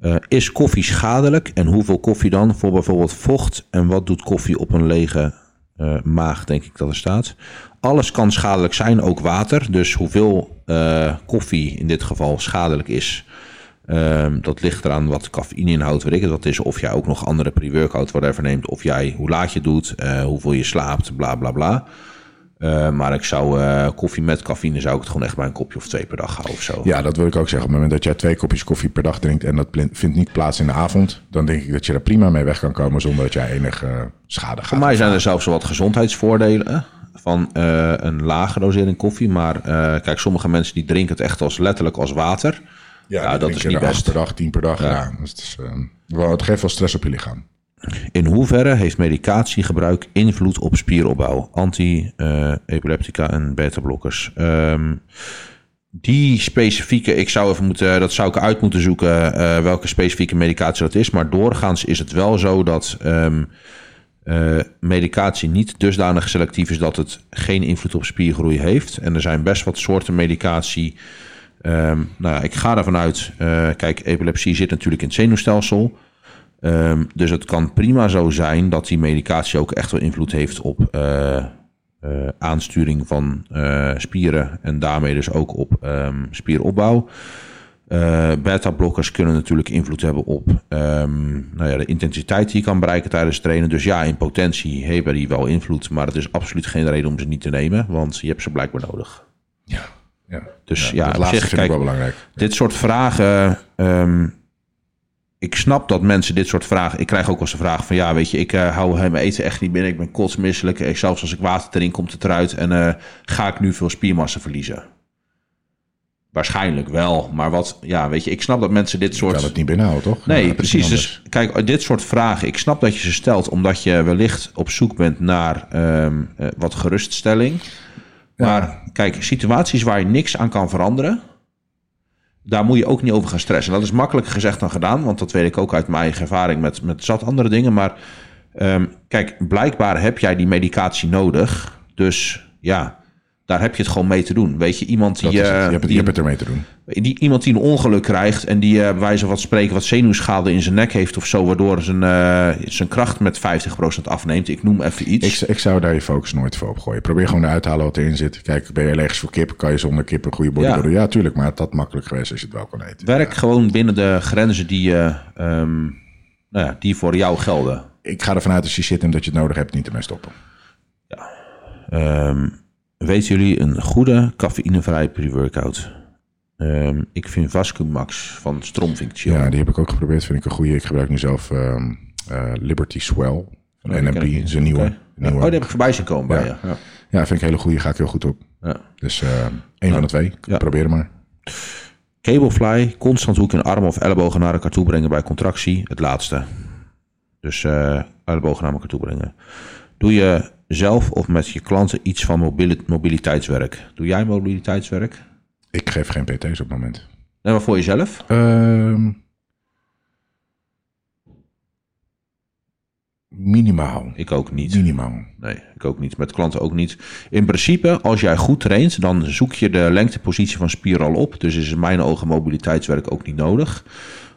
[SPEAKER 2] Eh, is koffie schadelijk en hoeveel koffie dan voor bijvoorbeeld vocht? En wat doet koffie op een lege eh, maag, denk ik dat er staat? Alles kan schadelijk zijn, ook water. Dus hoeveel eh, koffie in dit geval schadelijk is, ehm, dat ligt eraan wat cafeïne inhoudt, weet ik het wat is. Of jij ook nog andere pre-workout whatever neemt, of jij hoe laat je het doet, eh, hoeveel je slaapt, bla bla bla. Eh, maar ik zou eh, koffie met cafeïne zou ik het gewoon echt bij een kopje of twee per dag houden of zo.
[SPEAKER 1] ja, dat wil ik ook zeggen. Op het moment dat jij twee kopjes koffie per dag drinkt... en dat plin- vindt niet plaats in de avond... dan denk ik dat je er prima mee weg kan komen... zonder dat jij enige eh, schade gaat.
[SPEAKER 2] Voor mij zijn er zelfs wel wat gezondheidsvoordelen van eh, een lage dosering koffie. Maar eh, kijk, sommige mensen die drinken het echt als letterlijk als water. Ja,
[SPEAKER 1] die
[SPEAKER 2] dat
[SPEAKER 1] drinken
[SPEAKER 2] is
[SPEAKER 1] er
[SPEAKER 2] niet
[SPEAKER 1] acht
[SPEAKER 2] best.
[SPEAKER 1] per dag, tien per dag. Ja. dus het, is, eh, wel, het geeft wel stress op je lichaam.
[SPEAKER 2] In hoeverre heeft medicatiegebruik invloed op spieropbouw? Anti-epileptica en beta-blokkers. Ehm, die specifieke, ik zou even moeten, dat zou ik uit moeten zoeken eh, welke specifieke medicatie dat is. Maar doorgaans is het wel zo dat ehm, eh, medicatie niet dusdanig selectief is dat het geen invloed op spiergroei heeft. En er zijn best wat soorten medicatie. ehm, nou ja, ik ga ervan uit. eh, kijk, epilepsie zit natuurlijk in het zenuwstelsel. Ehm, dus het kan prima zo zijn dat die medicatie ook echt wel invloed heeft op eh, eh, aansturing van eh, spieren en daarmee dus ook op ehm, spieropbouw. Eh, Beta-blokkers kunnen natuurlijk invloed hebben op ehm, nou ja, de intensiteit die je kan bereiken tijdens trainen. Dus ja, in potentie hebben die wel invloed, maar het is absoluut geen reden om ze niet te nemen, want je hebt ze blijkbaar nodig.
[SPEAKER 1] Ja, ja.
[SPEAKER 2] Dus ja,
[SPEAKER 1] dat
[SPEAKER 2] op
[SPEAKER 1] laatste
[SPEAKER 2] zich,
[SPEAKER 1] vind ik
[SPEAKER 2] kijk,
[SPEAKER 1] wel belangrijk.
[SPEAKER 2] dit soort vragen. ehm, ik snap dat mensen dit soort vragen. Ik krijg ook wel eens de vraag van ja, weet je, ik eh, hou mijn eten echt niet binnen. Ik ben kotsmisselijk. Eh, zelfs als ik water drink, komt het eruit. En eh, ga ik nu veel spiermassa verliezen? Waarschijnlijk wel. Maar wat, ja, weet je, ik snap dat mensen dit soort.
[SPEAKER 1] Terwijl het niet binnenhoudt, toch? Eh, Ja,
[SPEAKER 2] Nee,
[SPEAKER 1] dat is
[SPEAKER 2] precies.
[SPEAKER 1] niet
[SPEAKER 2] Dus kijk, dit soort vragen. Ik snap dat je ze stelt omdat je wellicht op zoek bent naar ehm, eh, wat geruststelling. Maar kijk, situaties waar je niks aan kan veranderen. Daar moet je ook niet over gaan stressen. Dat is makkelijker gezegd dan gedaan, want dat weet ik ook uit mijn eigen ervaring met, met zat andere dingen. Maar ehm, kijk, blijkbaar heb jij die medicatie nodig. Dus ja, daar heb je het gewoon mee te doen. Weet je, iemand die.
[SPEAKER 1] Dat is het.
[SPEAKER 2] eh,
[SPEAKER 1] je, hebt het, je
[SPEAKER 2] die-
[SPEAKER 1] hebt het ermee te doen.
[SPEAKER 2] die, iemand die een ongeluk krijgt en die eh, bij wijze van wat spreken wat zenuwschade in zijn nek heeft of zo, waardoor zijn, eh, zijn kracht met 50% afneemt. Ik noem even iets.
[SPEAKER 1] Ik, z- ik zou daar je focus nooit voor opgooien. Probeer gewoon eruit te halen wat erin zit. Kijk, ben je allergisch voor kip? Kan je zonder kip een goede bodybuilder? doen? Ja, tuurlijk. Maar het had makkelijk geweest als je het wel kon eten.
[SPEAKER 2] Werk gewoon binnen de grenzen die, je, ehm, nou ja, die voor jou gelden.
[SPEAKER 1] Ik ga ervan uit als je zit en dat je het nodig hebt, niet ermee stoppen.
[SPEAKER 2] Ehm, weten jullie een goede cafeïnevrije pre-workout? Ehm, ik vind Vascumax van Stromvink chill.
[SPEAKER 1] Ja, die heb ik ook geprobeerd. Vind ik een goede. Ik gebruik nu zelf ehm, eh, Liberty Swell. Van
[SPEAKER 2] Oh, die ken ik
[SPEAKER 1] NMP,
[SPEAKER 2] niet.
[SPEAKER 1] zijn nieuwe.
[SPEAKER 2] Oké.
[SPEAKER 1] Nieuwe.
[SPEAKER 2] Oh, die heb ik voorbij zien komen bij
[SPEAKER 1] Ja.
[SPEAKER 2] je. Ja.
[SPEAKER 1] Ja, vind ik een hele goede. Ga ik heel goed op.
[SPEAKER 2] Ja.
[SPEAKER 1] Dus eh één van de twee.
[SPEAKER 2] Ja.
[SPEAKER 1] Probeer het maar.
[SPEAKER 2] Cablefly, constant hoek in arm of ellebogen naar elkaar toe brengen bij contractie. Het laatste. Dus eh, ellebogen naar elkaar toe brengen. Doe je zelf of met je klanten iets van mobili- mobiliteitswerk? Doe jij mobiliteitswerk?
[SPEAKER 1] Ik geef geen PT's op het moment.
[SPEAKER 2] Nee, maar voor jezelf?
[SPEAKER 1] Ehm, minimaal.
[SPEAKER 2] Ik ook niet.
[SPEAKER 1] Minimaal.
[SPEAKER 2] Nee, ik ook niet. Met klanten ook niet. In principe, als jij goed traint, dan zoek je de lengtepositie van spier al op. Dus is in mijn ogen mobiliteitswerk ook niet nodig.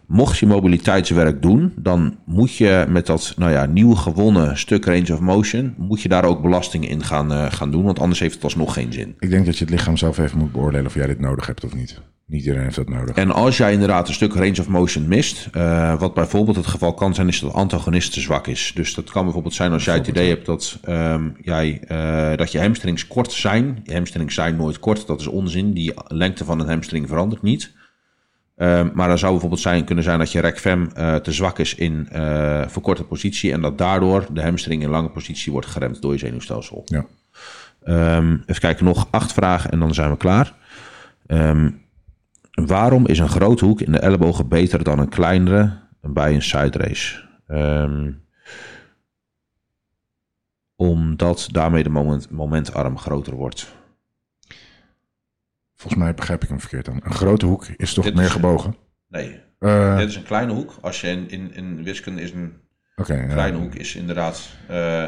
[SPEAKER 2] Mocht je mobiliteitswerk doen, dan moet je met dat nou ja, nieuw gewonnen stuk range of motion, moet je daar ook belasting in gaan, eh, gaan doen. Want anders heeft het alsnog geen zin.
[SPEAKER 1] Ik denk dat je het lichaam zelf even moet beoordelen of jij dit nodig hebt of niet. Niet iedereen heeft dat nodig.
[SPEAKER 2] En als jij inderdaad een stuk range of motion mist, eh, wat bijvoorbeeld het geval kan zijn, is dat de antagonist te zwak is. Dus dat kan bijvoorbeeld zijn als jij het idee hebt dat, ehm, jij, eh, dat je hamstrings kort zijn. Je hamstrings zijn nooit kort, dat is onzin. Die lengte van een hamstring verandert niet. Ehm, maar dan zou bijvoorbeeld zijn, kunnen zijn dat je rekfem eh te zwak is in eh, verkorte positie. En dat daardoor de hamstring in lange positie wordt geremd door je zenuwstelsel.
[SPEAKER 1] Ja.
[SPEAKER 2] Ehm, even kijken, nog acht vragen en dan zijn we klaar. Ehm, waarom is een grote hoek in de ellebogen beter dan een kleinere bij een side race? Ehm, omdat daarmee de moment, momentarm groter wordt.
[SPEAKER 1] Volgens mij begrijp ik hem verkeerd dan. Een grote hoek is toch
[SPEAKER 2] Dit
[SPEAKER 1] meer
[SPEAKER 2] is-
[SPEAKER 1] gebogen?
[SPEAKER 2] Nee,
[SPEAKER 1] Eh,
[SPEAKER 2] dit is een kleine hoek. Als je in, in, in wiskunde is een
[SPEAKER 1] Oké, ja.
[SPEAKER 2] kleine hoek is inderdaad. eh,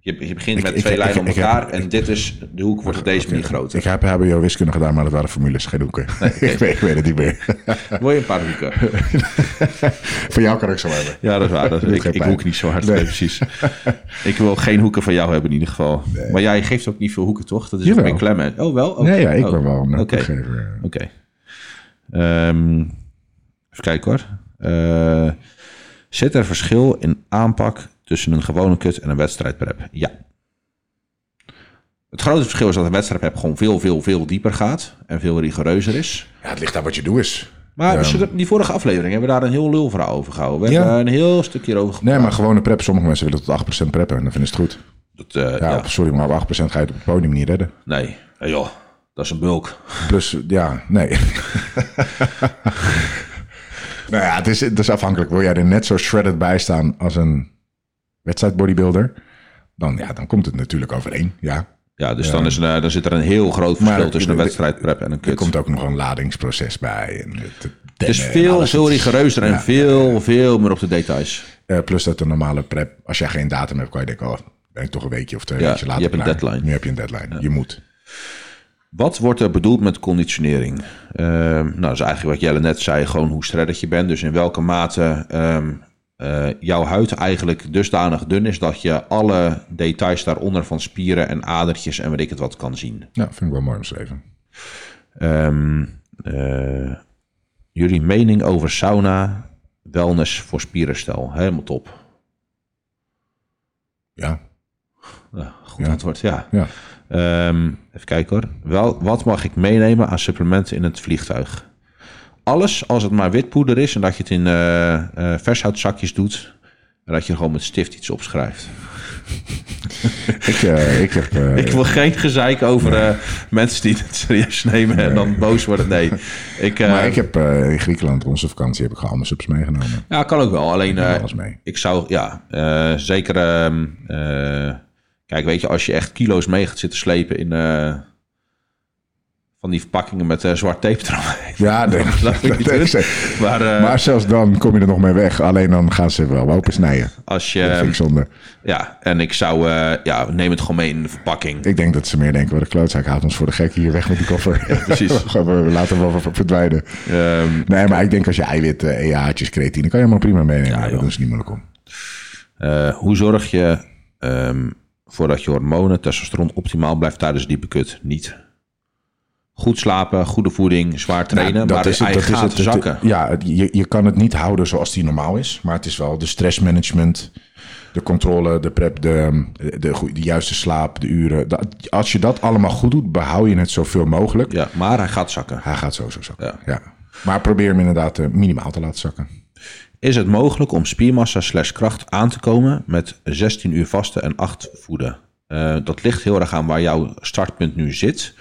[SPEAKER 2] je, je begint
[SPEAKER 1] Ik-
[SPEAKER 2] met
[SPEAKER 1] ik-
[SPEAKER 2] twee
[SPEAKER 1] ik-
[SPEAKER 2] lijnen
[SPEAKER 1] ik-
[SPEAKER 2] om
[SPEAKER 1] ik
[SPEAKER 2] elkaar.
[SPEAKER 1] heb-
[SPEAKER 2] en dit is, de hoek wordt op deze
[SPEAKER 1] Oké,
[SPEAKER 2] manier groter.
[SPEAKER 1] Ik heb HBO wiskunde gedaan, maar dat waren formules, geen hoeken. ik, weet, ik weet het niet meer.
[SPEAKER 2] Wil je een paar hoeken?
[SPEAKER 1] Van jou kan ik zo hebben.
[SPEAKER 2] Ja, dat is waar. Dat,
[SPEAKER 1] Doet
[SPEAKER 2] ik
[SPEAKER 1] geen
[SPEAKER 2] ik
[SPEAKER 1] pijn.
[SPEAKER 2] hoek niet zo hard. Nee, precies. ik wil geen hoeken van jou hebben in ieder geval. Maar jij geeft ook niet veel hoeken, toch? Dat is
[SPEAKER 1] Jawel.
[SPEAKER 2] ook meer klem. hè? Oh, wel? Oké.
[SPEAKER 1] Nee, ja, ik
[SPEAKER 2] Oh,
[SPEAKER 1] ben wel een
[SPEAKER 2] Oké.
[SPEAKER 1] hoekgever.
[SPEAKER 2] Oké. Ehm, even kijken hoor. Eh, zit er verschil in aanpak tussen een gewone kut en een wedstrijdprep? Ja. Het grote verschil is dat een wedstrijdprep gewoon veel, veel, veel dieper gaat. En veel rigoureuzer is.
[SPEAKER 1] Ja, het ligt aan wat je doet is.
[SPEAKER 2] Maar zullen we- die vorige aflevering hebben we daar een heel lulverhaal over gehouden. We
[SPEAKER 1] Ja.
[SPEAKER 2] hebben daar een heel stukje over gepraat.
[SPEAKER 1] Nee, maar gewone prep. Sommige mensen willen tot 8% preppen en dan vinden ze het goed.
[SPEAKER 2] Dat, eh,
[SPEAKER 1] Ja,
[SPEAKER 2] ja.
[SPEAKER 1] op- sorry, maar op 8% ga je het op het podium niet redden.
[SPEAKER 2] Nee, hey joh, dat is een bulk.
[SPEAKER 1] Plus, ja, nee. nou ja, het is, het is afhankelijk. Wil jij er net zo shredded bij staan als een wedstrijdbodybuilder? Dan, ja, dan komt het natuurlijk overeen, ja.
[SPEAKER 2] Ja, dus Dan, is een, eh, dan zit er een heel groot verschil
[SPEAKER 1] Maar
[SPEAKER 2] tussen een
[SPEAKER 1] de-
[SPEAKER 2] wedstrijdprep en een
[SPEAKER 1] Er
[SPEAKER 2] kut.
[SPEAKER 1] komt ook nog een ladingsproces bij. En het, het
[SPEAKER 2] het is
[SPEAKER 1] dennen en
[SPEAKER 2] Dus veel,
[SPEAKER 1] alles.
[SPEAKER 2] veel rigoureuzer en veel, veel meer op de details.
[SPEAKER 1] Eh, plus dat de normale prep, als jij geen datum hebt, kan je denken, oh, ben ik toch een weekje of twee
[SPEAKER 2] Ja,
[SPEAKER 1] weken later
[SPEAKER 2] je hebt een
[SPEAKER 1] klaar.
[SPEAKER 2] deadline.
[SPEAKER 1] Nu heb je een deadline, je moet.
[SPEAKER 2] Wat wordt er bedoeld met conditionering? Ehm, nou, dat is eigenlijk wat Jelle net zei, gewoon hoe shredded je bent. Dus in welke mate ehm, eh, jouw huid eigenlijk dusdanig dun is... dat je alle details daaronder van spieren en adertjes en weet ik het wat kan zien.
[SPEAKER 1] Nou, vind ik wel mooi omschreven.
[SPEAKER 2] Ehm, eh, jullie mening over sauna, wellness voor spierherstel. Helemaal top.
[SPEAKER 1] Ja,
[SPEAKER 2] Ja, goed antwoord, ja.
[SPEAKER 1] ja.
[SPEAKER 2] Ehm, even kijken hoor. Wel, wat mag ik meenemen aan supplementen in het vliegtuig? Alles, als het maar witpoeder is en dat je het in eh, eh, vershoutzakjes doet. En dat je er gewoon met stift iets opschrijft.
[SPEAKER 1] Ik, eh, ik heb... eh,
[SPEAKER 2] Ik wil geen gezeik over eh, mensen die het serieus nemen en dan boos worden. Nee, ik, eh,
[SPEAKER 1] maar ik heb eh, in Griekenland, onze vakantie, heb ik gewoon mijn subs meegenomen.
[SPEAKER 2] ja, kan ook wel. Alleen eh,
[SPEAKER 1] alles mee.
[SPEAKER 2] Ik zou, ja, eh, zeker. ehm, eh, kijk, weet je, als je echt kilo's mee gaat zitten slepen in. eh, van die verpakkingen met eh, zwart tape eromheen.
[SPEAKER 1] Ja, nee,
[SPEAKER 2] Dat moet je
[SPEAKER 1] dat denk
[SPEAKER 2] niet
[SPEAKER 1] ik
[SPEAKER 2] doen.
[SPEAKER 1] zeker.
[SPEAKER 2] Maar, eh,
[SPEAKER 1] Maar zelfs dan kom je er nog mee weg. Alleen dan gaan ze wel open snijden.
[SPEAKER 2] als
[SPEAKER 1] Dat vind
[SPEAKER 2] je.
[SPEAKER 1] ik zonde.
[SPEAKER 2] Ja, en ik zou. eh, ja, neem het gewoon mee in de verpakking.
[SPEAKER 1] Ik denk dat ze meer denken, wat een klootzak, haalt ons voor de gek hier weg met die koffer.
[SPEAKER 2] precies.
[SPEAKER 1] We gaan- we laten hem wel ver- verdwijnen.
[SPEAKER 2] Ehm,
[SPEAKER 1] Nee, maar ik denk als je eiwitten, EA'tjes, creatine, kan je helemaal prima meenemen. dat is niet moeilijk om.
[SPEAKER 2] eh, hoe zorg je. ehm, voor dat je hormonen, testosteron optimaal blijft tijdens diepe kut? Niet. Goed slapen, goede voeding, zwaar trainen.
[SPEAKER 1] Nou,
[SPEAKER 2] maar is, eigen gaten
[SPEAKER 1] het-
[SPEAKER 2] zakken.
[SPEAKER 1] ja, het- je, je kan het niet houden zoals die normaal is. Maar het is wel de stressmanagement, de controle, de prep, de, de, goe- de juiste slaap, de uren. Dat, als je dat allemaal goed doet, behoud je het zoveel mogelijk.
[SPEAKER 2] ja, maar hij gaat zakken.
[SPEAKER 1] Hij gaat sowieso zakken.
[SPEAKER 2] Ja.
[SPEAKER 1] Ja. Maar probeer hem inderdaad eh, minimaal te laten zakken.
[SPEAKER 2] Is het mogelijk om spiermassa slash kracht aan te komen met 16 uur vasten en 8 voeden? Eh, dat ligt heel erg aan waar jouw startpunt nu zit.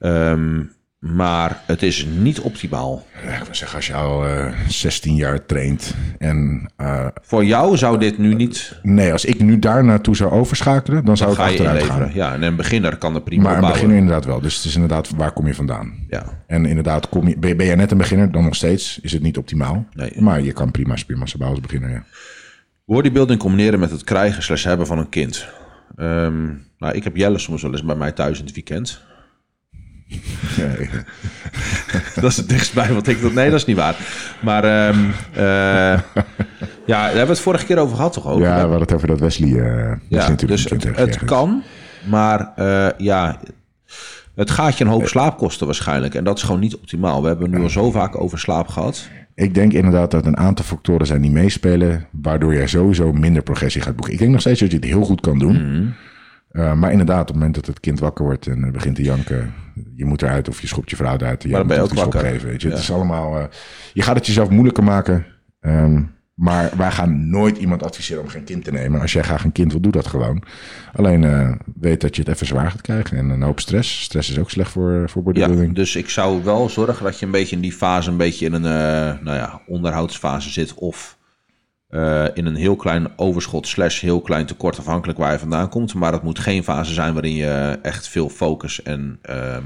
[SPEAKER 2] Ehm, maar het is niet optimaal.
[SPEAKER 1] Ja, ik wil zeggen, als je al eh, 16 jaar traint en... eh,
[SPEAKER 2] Voor jou zou dit nu niet
[SPEAKER 1] nee, als ik nu daar naartoe zou overschakelen, dan zou ik
[SPEAKER 2] ga je
[SPEAKER 1] achteruit gaan.
[SPEAKER 2] inleveren. Ja, en een beginner kan er prima
[SPEAKER 1] Maar
[SPEAKER 2] op
[SPEAKER 1] een
[SPEAKER 2] bouwen.
[SPEAKER 1] beginner inderdaad wel. Dus het is inderdaad, waar kom je vandaan?
[SPEAKER 2] Ja.
[SPEAKER 1] En inderdaad, kom je, ben, je- ben je net een beginner, dan nog steeds is het niet optimaal.
[SPEAKER 2] Nee.
[SPEAKER 1] Maar je kan prima spiermassa bouwen als beginner, ja.
[SPEAKER 2] Bodybuilding combineren met het krijgen slash hebben van een kind. Ehm, nou, ik heb Jelle soms wel eens bij mij thuis in het weekend. dat is het dichtstbij wat ik dat. Nee, dat is niet waar. Maar ehm, eh, ja, daar hebben we het vorige keer over gehad, toch? Ook?
[SPEAKER 1] Ja, we hadden het over dat Wesley... eh, dat is
[SPEAKER 2] ja
[SPEAKER 1] natuurlijk
[SPEAKER 2] dus
[SPEAKER 1] een kind
[SPEAKER 2] het,
[SPEAKER 1] heeft
[SPEAKER 2] het
[SPEAKER 1] gekregen.
[SPEAKER 2] kan, maar eh, ja, het gaat je een
[SPEAKER 1] Eh,
[SPEAKER 2] hoop slaap kosten waarschijnlijk. En dat is gewoon niet optimaal. We hebben nu al zo vaak over slaap gehad.
[SPEAKER 1] Ik denk inderdaad dat een aantal factoren zijn die meespelen, waardoor jij sowieso minder progressie gaat boeken. Ik denk nog steeds dat je het heel goed kan doen.
[SPEAKER 2] Mhm.
[SPEAKER 1] Eh, maar inderdaad, op het moment dat het kind wakker wordt en eh, begint te janken, je moet eruit of je schopt je vrouw eruit. Je
[SPEAKER 2] Maar dan ben je
[SPEAKER 1] moet
[SPEAKER 2] ook
[SPEAKER 1] iets
[SPEAKER 2] wakker.
[SPEAKER 1] opgeven, weet je. Het is allemaal, eh, je gaat het jezelf moeilijker maken. Ehm, Maar wij gaan nooit iemand adviseren om geen kind te nemen. Als jij graag een kind wil, doe dat gewoon. Alleen eh, weet dat je het even zwaar gaat krijgen. En een hoop stress. Stress is ook slecht voor, voor
[SPEAKER 2] Ja,
[SPEAKER 1] bodybuilding.
[SPEAKER 2] dus ik zou wel zorgen dat je een beetje in die fase, een beetje in een eh, nou ja, onderhoudsfase zit. Of eh, in een heel klein overschot, slash heel klein tekort, afhankelijk waar je vandaan komt. Maar dat moet geen fase zijn waarin je echt veel focus en ehm,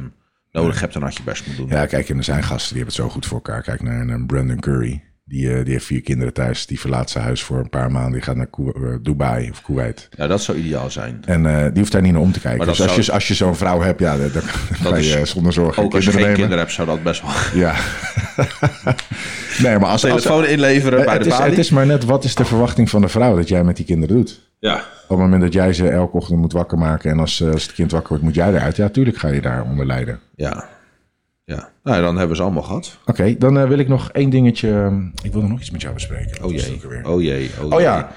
[SPEAKER 2] nodig hebt en had je best moet doen.
[SPEAKER 1] Ja, kijk, en er zijn gasten die hebben het zo goed voor elkaar. Kijk naar een, een Brandon Curry. Die, eh, die heeft vier kinderen thuis. Die verlaat zijn huis voor een paar maanden. Die gaat naar Koe- eh, Dubai of Kuwait.
[SPEAKER 2] Ja, dat zou ideaal zijn.
[SPEAKER 1] En eh, die hoeft daar niet naar om te kijken.
[SPEAKER 2] Maar
[SPEAKER 1] Dus
[SPEAKER 2] dat
[SPEAKER 1] als,
[SPEAKER 2] zou-
[SPEAKER 1] je, als je zo'n vrouw hebt, ja, dan, dan kan
[SPEAKER 2] is-
[SPEAKER 1] je eh, zonder zorgen
[SPEAKER 2] Ook als je geen
[SPEAKER 1] kinderen nemen.
[SPEAKER 2] kinderen hebt, zou dat best wel.
[SPEAKER 1] Ja. nee, maar als, als,
[SPEAKER 2] Telefoon inleveren bij
[SPEAKER 1] het,
[SPEAKER 2] de
[SPEAKER 1] is,
[SPEAKER 2] balie.
[SPEAKER 1] het is maar net, wat is de verwachting van de vrouw dat jij met die kinderen doet?
[SPEAKER 2] Ja.
[SPEAKER 1] Op het moment dat jij ze elke ochtend moet wakker maken en als, eh, als het kind wakker wordt, moet jij eruit. Ja, tuurlijk ga je daar onder lijden.
[SPEAKER 2] Ja. ja. Nou, ja, dan hebben we ze allemaal gehad.
[SPEAKER 1] Oké, dan eh, wil ik nog één dingetje. ehm, Ik wilde nog iets met jou bespreken.
[SPEAKER 2] Oh
[SPEAKER 1] Dat is ook
[SPEAKER 2] jee.
[SPEAKER 1] alweer.
[SPEAKER 2] Oh jee. Oh,
[SPEAKER 1] Oh
[SPEAKER 2] jee.
[SPEAKER 1] ja.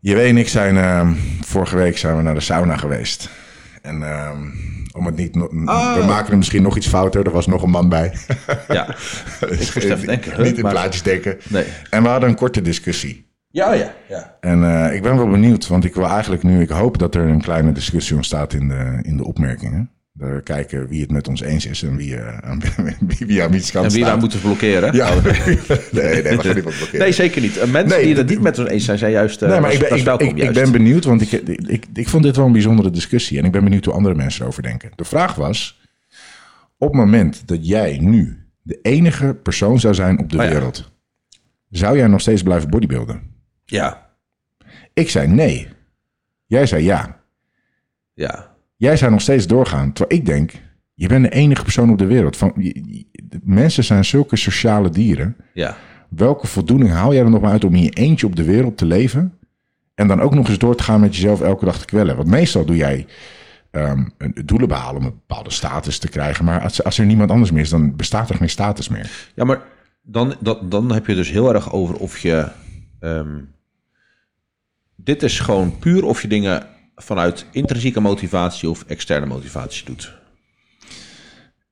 [SPEAKER 1] Je en ik zijn ehm, vorige week zijn we naar de sauna geweest. En ehm, om het niet. no-
[SPEAKER 2] Oh.
[SPEAKER 1] We maken er misschien nog iets fouter. Er was nog een man bij.
[SPEAKER 2] Ja. Ik moest even denken. huh,
[SPEAKER 1] niet in
[SPEAKER 2] maar-
[SPEAKER 1] plaatjes denken.
[SPEAKER 2] Nee.
[SPEAKER 1] En we hadden een korte discussie.
[SPEAKER 2] Ja, oh ja, ja.
[SPEAKER 1] En eh, ik ben wel benieuwd, want ik wil eigenlijk nu, ik hoop dat er een kleine discussie ontstaat in de, in de opmerkingen. Dat we kijken wie het met ons eens is en wie, eh, aan, wie, wie aan wiens kant
[SPEAKER 2] En wie wij
[SPEAKER 1] staat.
[SPEAKER 2] moeten blokkeren.
[SPEAKER 1] Ja, nee, nee, we gaan niemand blokkeren.
[SPEAKER 2] Nee, zeker niet. Eh, Mensen
[SPEAKER 1] Nee,
[SPEAKER 2] die
[SPEAKER 1] dat-
[SPEAKER 2] het niet met ons eens zijn, zijn juist. eh
[SPEAKER 1] Nee, maar ik
[SPEAKER 2] dat
[SPEAKER 1] ben,
[SPEAKER 2] is
[SPEAKER 1] ik,
[SPEAKER 2] welkom
[SPEAKER 1] ik, ik
[SPEAKER 2] juist.
[SPEAKER 1] ben benieuwd, want ik, ik, ik, ik vond dit wel een bijzondere discussie. En ik ben benieuwd hoe andere mensen erover denken. De vraag was, op het moment dat jij nu de enige persoon zou zijn op de
[SPEAKER 2] Oh ja.
[SPEAKER 1] wereld, zou jij nog steeds blijven bodybuilden?
[SPEAKER 2] Ja,
[SPEAKER 1] Ik zei nee. Jij zei ja.
[SPEAKER 2] ja.
[SPEAKER 1] Jij zou nog steeds doorgaan. Terwijl ik denk, je bent de enige persoon op de wereld. Van, je- je- de mensen zijn zulke sociale dieren.
[SPEAKER 2] Ja,
[SPEAKER 1] Welke voldoening haal jij er nog maar uit om in je eentje op de wereld te leven? En dan ook nog eens door te gaan met jezelf elke dag te kwellen. Want meestal doe jij ehm, een- doelen behalen om een bepaalde status te krijgen. Maar als, als er niemand anders meer is, dan bestaat er geen status meer.
[SPEAKER 2] ja maar dan, dan, dan heb je dus heel erg over of je. ehm, dit is gewoon puur of je dingen vanuit intrinsieke motivatie of externe motivatie doet.